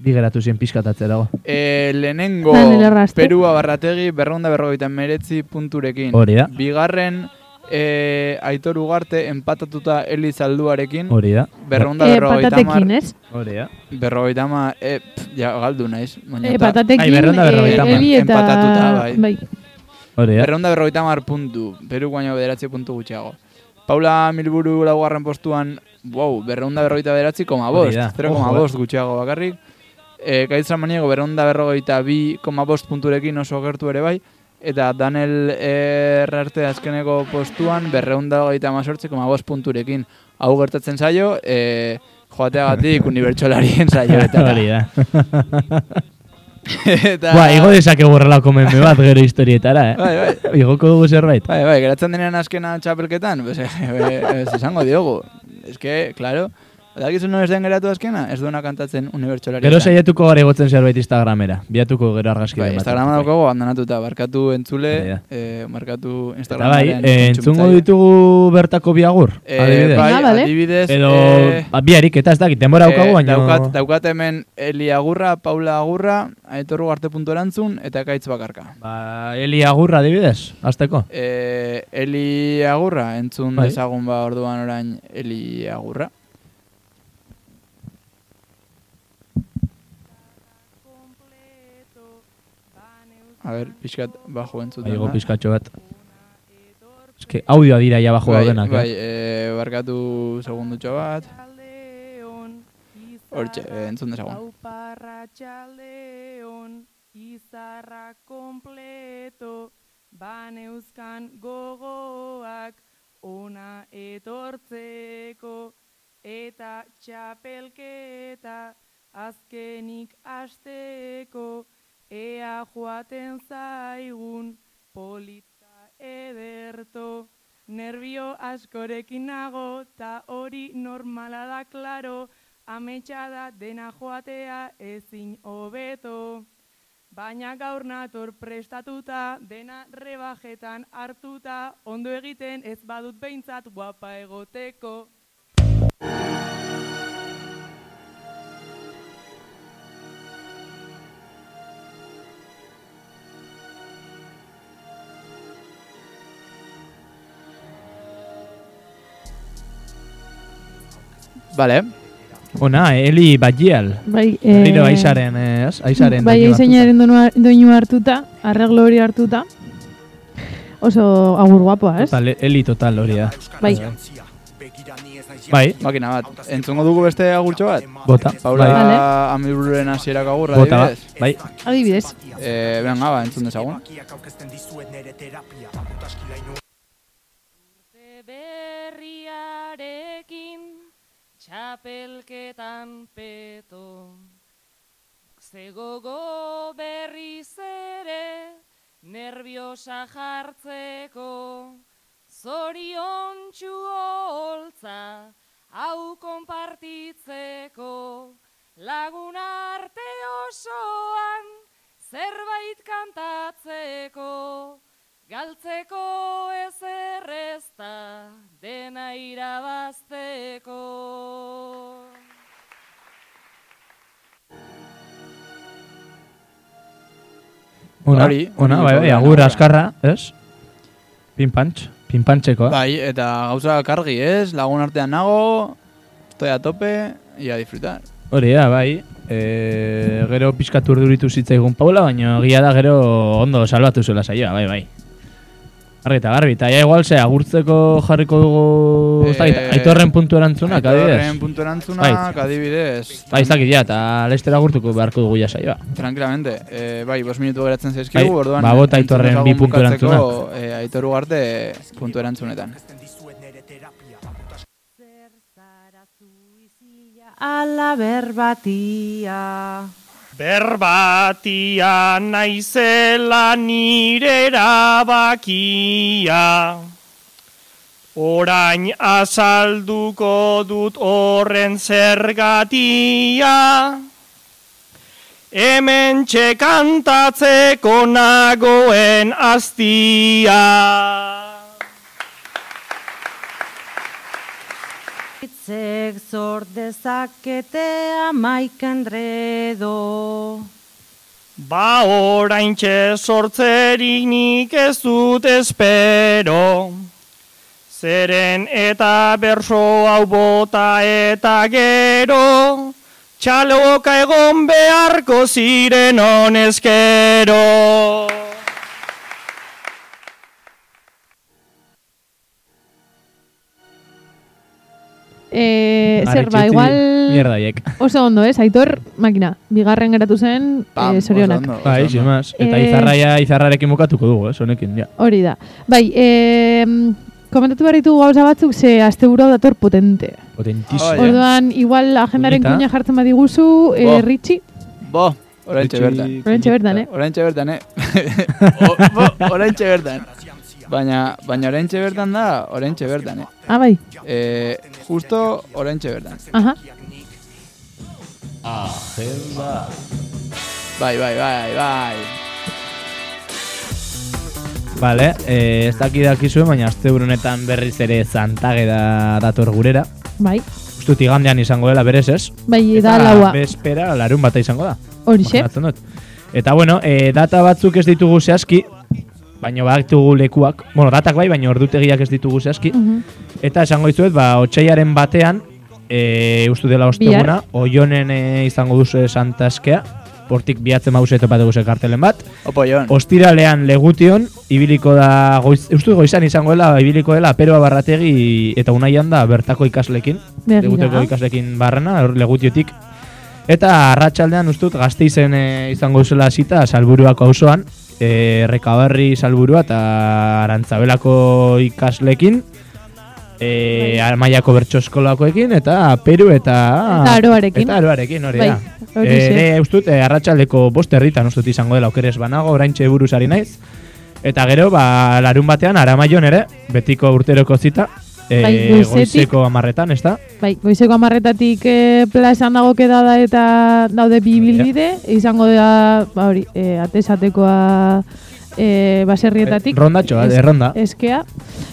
S1: Bi geratu ziren pixkat atzerago.
S2: E, lehenengo
S3: Daniel Erraste.
S2: Perua barrategi berronda berrogeita meretzi punturekin.
S1: Hori eh. da.
S2: Bigarren e, Aitor Ugarte empatatuta Eliz Alduarekin.
S1: Hori da.
S2: Berronda
S3: e,
S2: berrogeita
S3: patatekin,
S2: mar.
S3: ez?
S1: Hori da.
S2: Berrogeita mar, e, pff, ja, galdu naiz. baina
S3: E,
S2: eta-
S1: Ai,
S3: patatekin,
S1: berrehun
S3: e,
S1: eta Bai, berrogeita hamar.
S3: Eli eta...
S2: Empatatuta, bai.
S3: bai.
S1: Hori da.
S2: Berrehun da berrogeita mar puntu, Peru baino bederatzi puntu gutxiago. Paula Milburu laugarren postuan, wow, berreunda berrogeita bederatzi koma
S1: Hori
S2: bost,
S1: da. eh.
S2: 0,5 gutxiago bakarrik. E, Gaitza maniego berreunda berrogeita bi koma bost punturekin oso gertu ere bai, eta Daniel Errarte azkeneko postuan berreunda berrogeita mazortzi koma bost punturekin. Hau gertatzen zaio, e, joateagatik unibertsolarien saioetara.
S1: Hori da.
S2: eta...
S1: Ba, igo dezakegu horrelako meme bat gero historietara, eh?
S2: Bai, bai.
S1: Igoko dugu zerbait.
S2: Bai, bai, geratzen denean azkena txapelketan, pues, eh, ez esango diogu. Ez que, claro, badakizu non ez den geratu azkena, ez duena kantatzen unibertsolari.
S1: Gero saiatuko gara igotzen zerbait Instagramera. Biatuko gero argazki
S2: Bai,
S1: bat.
S2: Instagrama
S1: Bai.
S2: daukagu abandonatuta, barkatu
S1: Hori da.
S2: entzule, eh, markatu
S1: Eta bai,
S2: Instagramaren
S1: eh, entzungo
S2: entzultzaile.
S1: ditugu bertako biagur.
S2: Eh,
S1: adibidez.
S2: bai,
S3: Ah, vale.
S2: adibidez,
S1: Edo,
S2: eh,
S1: ba, biarik, eta ez dakit, denbora
S2: eh,
S1: daukagu, baina...
S2: daukat, daukat hemen Eli Agurra, Paula Agurra, Aitorru Garte puntu erantzun, eta Ekaitz Bakarka.
S1: Ba, Eli Agurra adibidez, azteko.
S2: Eh, Eli Agurra, entzun
S1: Bai.
S2: dezagun ba orduan orain Eli Agurra. A ber, pixkat bajo entzuten
S1: Baigo
S2: da.
S1: Bai, pizkatxo bat. Eske audioa dira ja bajo
S2: bai,
S1: daudenak.
S2: bai,
S1: eh?
S2: eh, barkatu segundutxo bat. Hortxe, eh, entzun dezagun.
S5: Auparra txaldeon, izarra kompleto, baneuzkan gogoak, ona etortzeko,
S12: eta txapelketa azkenik asteko ea joaten zaigun polita ederto nervio askorekin nago ta hori normala da klaro ametsa da dena joatea ezin hobeto Baina gaur nator prestatuta, dena rebajetan hartuta, ondo egiten ez badut behintzat guapa egoteko.
S2: Bale.
S1: Ona, Eli Bagial.
S3: Bai, eh,
S1: Berriro aizaren, eh, az? aizaren.
S3: Bai,
S1: doinu hartuta.
S3: aizainaren doinua, doinua hartuta, arreglo hori hartuta. Oso agur guapoa, ez?
S1: Total, Eli total hori da.
S3: Bai.
S1: Bai.
S2: Makina bat, entzungo dugu beste agurtxo bat?
S1: Bota,
S2: Paula
S1: bai.
S2: vale. amiruren hasierak agurra,
S1: Bota, ba.
S2: adibidez?
S1: bai.
S3: Adibidez.
S2: Eh, venga, ba, entzun dezagun.
S9: berriarekin txapelketan peto. Zegogo berriz ere nerviosa jartzeko. Zorion holtza hau konpartitzeko. Lagun arte osoan zerbait kantatzeko. Galtzeko ez errezta dena irabazteko.
S1: Ona,
S2: Hori,
S1: ona,
S2: hori
S1: bai, bai,
S2: paula,
S1: agur
S2: aurra.
S1: askarra, ez? Pinpantx, pinpantxekoa.
S2: Bai, eta gauza kargi, ez? Lagun artean nago, estoy a tope, y a disfrutar.
S1: Hori da, bai. E, gero pixkat urduritu zitzaigun Paula, baina egia da gero ondo salbatu zuela saioa, bai, bai. Arri eta garbi, eta ja igual ze agurtzeko jarriko dugu, ez dakit,
S2: Eh,
S1: aitorren puntu erantzunak,
S2: Aitorren
S1: adibidez.
S2: puntu erantzunak, adibidez.
S1: Bai, ez dakit ja, eta lester agurtuko beharko dugu ja saioa.
S2: Tranquilamente, eh, bai, bost minutu geratzen zaizkigu,
S1: Bai,
S2: orduan...
S1: ba, bota
S2: entzun
S1: Aitorren
S2: dezagun
S1: bi puntu
S2: bukatzeko,
S1: erantzunak.
S2: Eh, aitor ugarte puntu erantzunetan.
S12: Ala berbatia.
S13: Berbatia naizela nire erabakia. Orain azalduko dut horren zergatia. Hemen txekantatzeko nagoen aztia.
S14: Itzek zor dezakete amaikan dredo.
S13: Ba orain sortzerik nik ez dut espero. Zeren eta berso hau bota eta gero, txaloka egon beharko ziren honezkero.
S3: Eh, zer, ba,
S1: Arretxiti
S3: igual...
S1: mierda haiek.
S3: Oso ondo, ez? Aitor, makina. Bigarren geratu zen, eh, zorionak.
S1: Bai, sin más. Eta
S3: Eh,
S1: izarraia izarrarekin bukatuko dugu, ez, honekin, ja.
S3: Hori da. Bai, eh, komentatu behar ditugu gauza batzuk, ze aste dator potente.
S1: Potentísimo.
S3: Orduan, igual agendaren
S1: Kuñita.
S3: kuña jartzen badiguzu, eh,
S2: Bo.
S3: Ritxi.
S2: Bo, oraintxe
S1: Gutxi-
S2: bertan.
S3: Oraintxe bertan, eh?
S2: Oraintxe bertan, eh? O- bo, oraintxe bertan. Baina, baina oraintxe bertan da, oraintxe bertan, eh?
S3: Ah, bai.
S2: Eh, justo oraintxe bertan.
S3: Aha.
S2: Agenda. Bai, bai, bai, bai.
S1: Vale, eh, ez daki dakizue, baina azte honetan berriz ere zantageda dator gurera.
S3: Bai,
S1: Uztut igandean izango dela berez ez?
S3: bai, da
S1: Eta
S3: laua.
S1: Bezpera, larun bata izango da.
S3: Horixe.
S1: Imaginatzen dut. Eta bueno, e, data batzuk ez ditugu zehazki, baina baditugu lekuak. Bueno, datak bai, baina ordutegiak ez ditugu zehazki.
S3: Mm.
S1: Eta esango dizuet, ba, otxaiaren batean, e, ustu dela osteguna, oionen e, izango duzu santaskea, portik biatzen mauze topatu guze kartelen bat.
S2: Opoion.
S1: Ostiralean legution, ibiliko da, goiz, ustu goizan izango dela, ibiliko dela, peroa barrategi eta unaian da bertako ikaslekin.
S3: Begira.
S1: Leguteko ikaslekin barrena, hor legutiotik. Eta arratsaldean ustut gazteizen e, izango zela zita salburuako auzoan, eh, e, rekabarri salburua eta arantzabelako ikaslekin,
S3: Bai.
S1: e, Almaiako bertso eskolakoekin eta Peru eta
S3: Eta aroarekin.
S1: Eta aroarekin, hori
S3: Bai,
S1: da.
S3: horixe.
S1: E, ne, ustut, e, arratsaldeko bost herritan ustut izango dela okeres banago, oraintxe buruz ari naiz. Eta gero, ba, larun batean, aramaion ere, betiko urteroko zita, e,
S3: Bai, goizetik.
S1: goizeko amarretan, ez da?
S3: Bai, goizeko amarretatik eh, plazan dago kedada eta daude bi bilbide, izango da, ba hori, eh, atesatekoa eh, baserrietatik.
S1: Eh, rondatxo bat,
S3: Es-
S1: erronda.
S3: Eskea.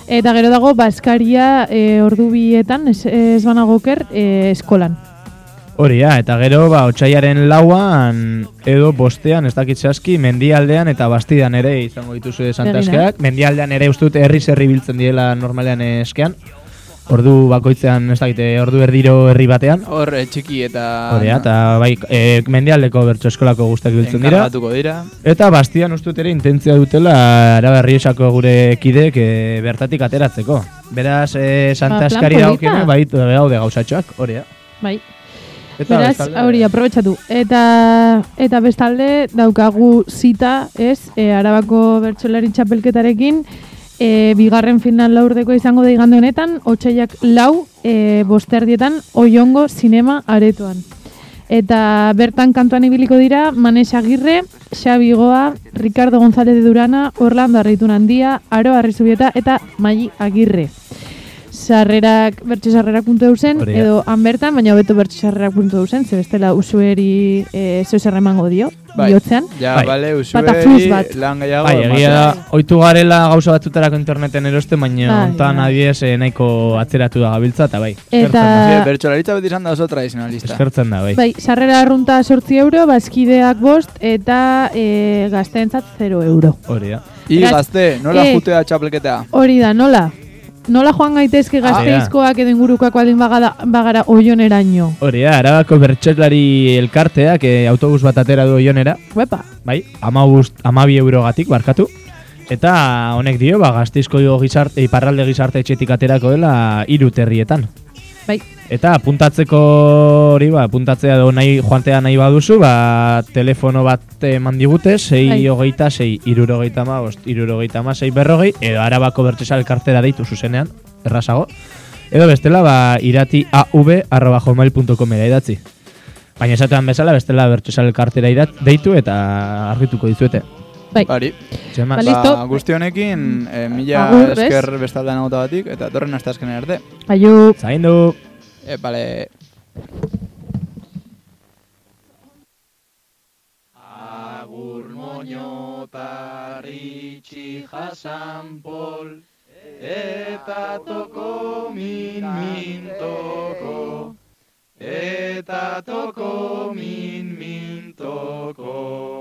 S3: Eta gero dago, baskaria eh, ordu bietan, ez, ez banagoker, eh, eskolan.
S1: Hori da, eta gero, ba, otxaiaren lauan, edo bostean, ez dakit zehazki, mendialdean eta bastidan ere izango dituzue santaskeak. Mendialdean ere ustut herri herri biltzen direla normalean eh, eskean. Ordu bakoitzean, ez dakit, eh, ordu erdiro herri batean.
S2: Hor eh, txiki eta...
S1: Hori da, eta bai, e, mendialdeko bertso eskolako guztak biltzen dira.
S2: Enkargatuko dira.
S1: Eta bastian ustut ere intentzia dutela araberriesako gure kidek e, bertatik ateratzeko. Beraz, e,
S3: Ba, plan
S1: Santa Eskari
S3: polita.
S1: daukene, bai, daude gauzatxoak, hori da.
S3: Bai.
S1: Eta
S3: Beraz,
S1: bestalde-
S3: hori, aprobetsatu. Eta, eta bestalde, daukagu zita, ez, e, arabako bertsolari txapelketarekin, e, bigarren final laurdeko izango da igande honetan, otxaiak lau, e, bosterdietan, oiongo sinema aretoan. Eta bertan kantuan ibiliko dira, Manes Agirre, Xabi Goa, Ricardo González de Durana, Orlando Arritun Handia, Aro Arrizubieta eta Maili Agirre. Sarrerak, bertxesarrerak.eusen,
S1: Hori da.
S3: edo han bertan, baina hobeto bertxesarrerak.eusen, ze bestela usueri e, zeuzer emango dio, bihotzean.
S2: Ja,
S1: Bai.
S2: bale,
S3: Bata
S2: usueri,
S3: flus bat.
S2: lan gehiago.
S1: Bai, egia da,
S2: ematea.
S1: oitu garela gauza batzutarako interneten erosten, baina
S2: Bai,
S1: hontan
S2: bai.
S1: adiez eh, nahiko atzeratu da gabiltza, eta bai.
S3: Eta-
S2: Bertxolaritza beti izan da oso tradizionalista.
S1: Eskertzen da, bai.
S3: Bai, sarrera arrunta sortzi euro, bazkideak bost, eta e, gazteentzat 0 euro.
S1: Hori da.
S2: I
S3: Beraz,
S2: gazte, nola
S3: eh,
S2: jutea txapelketa?
S3: Hori da, nola? Nola joan gaitezke
S1: Ah,
S3: gazteizkoak edo ingurukoak baldin bagada, bagara oioneraino?
S1: Hori da, arabako bertxeklari elkarteak eh, autobus bat atera du oionera.
S3: Uepa.
S1: Bai, amabust, amabi eurogatik barkatu. Eta honek dio, ba, gazteizko gizarte, iparralde gizarte etxetik aterako dela hiru terrietan.
S3: Bai.
S1: Eta apuntatzeko hori, ba, apuntatzea edo nahi, joantea nahi baduzu, ba, telefono bat eman digute, 6
S3: Bai.
S1: hogeita, 6 irurogeita ma, bost, irurogeita ma, 6 berrogei, edo arabako bertsesa elkartera deitu zuzenean, errazago. Edo bestela, ba, irati av.com era idatzi. Baina esatean bezala, bestela bertsesa elkartera idat, deitu eta argituko dizuete.
S3: Bai.
S2: Bari.
S1: Txema.
S3: Ba, listo.
S2: Ba, guzti honekin, eh, mila
S3: Agur, bez?
S2: esker bestaldean agotagatik, eta torren hasta azkenen arte.
S3: Aio.
S1: Zaindu.
S2: Eh, bale.
S15: Agur moñotar itxi jasan pol, eta toko min min toko, eta toko min min toko.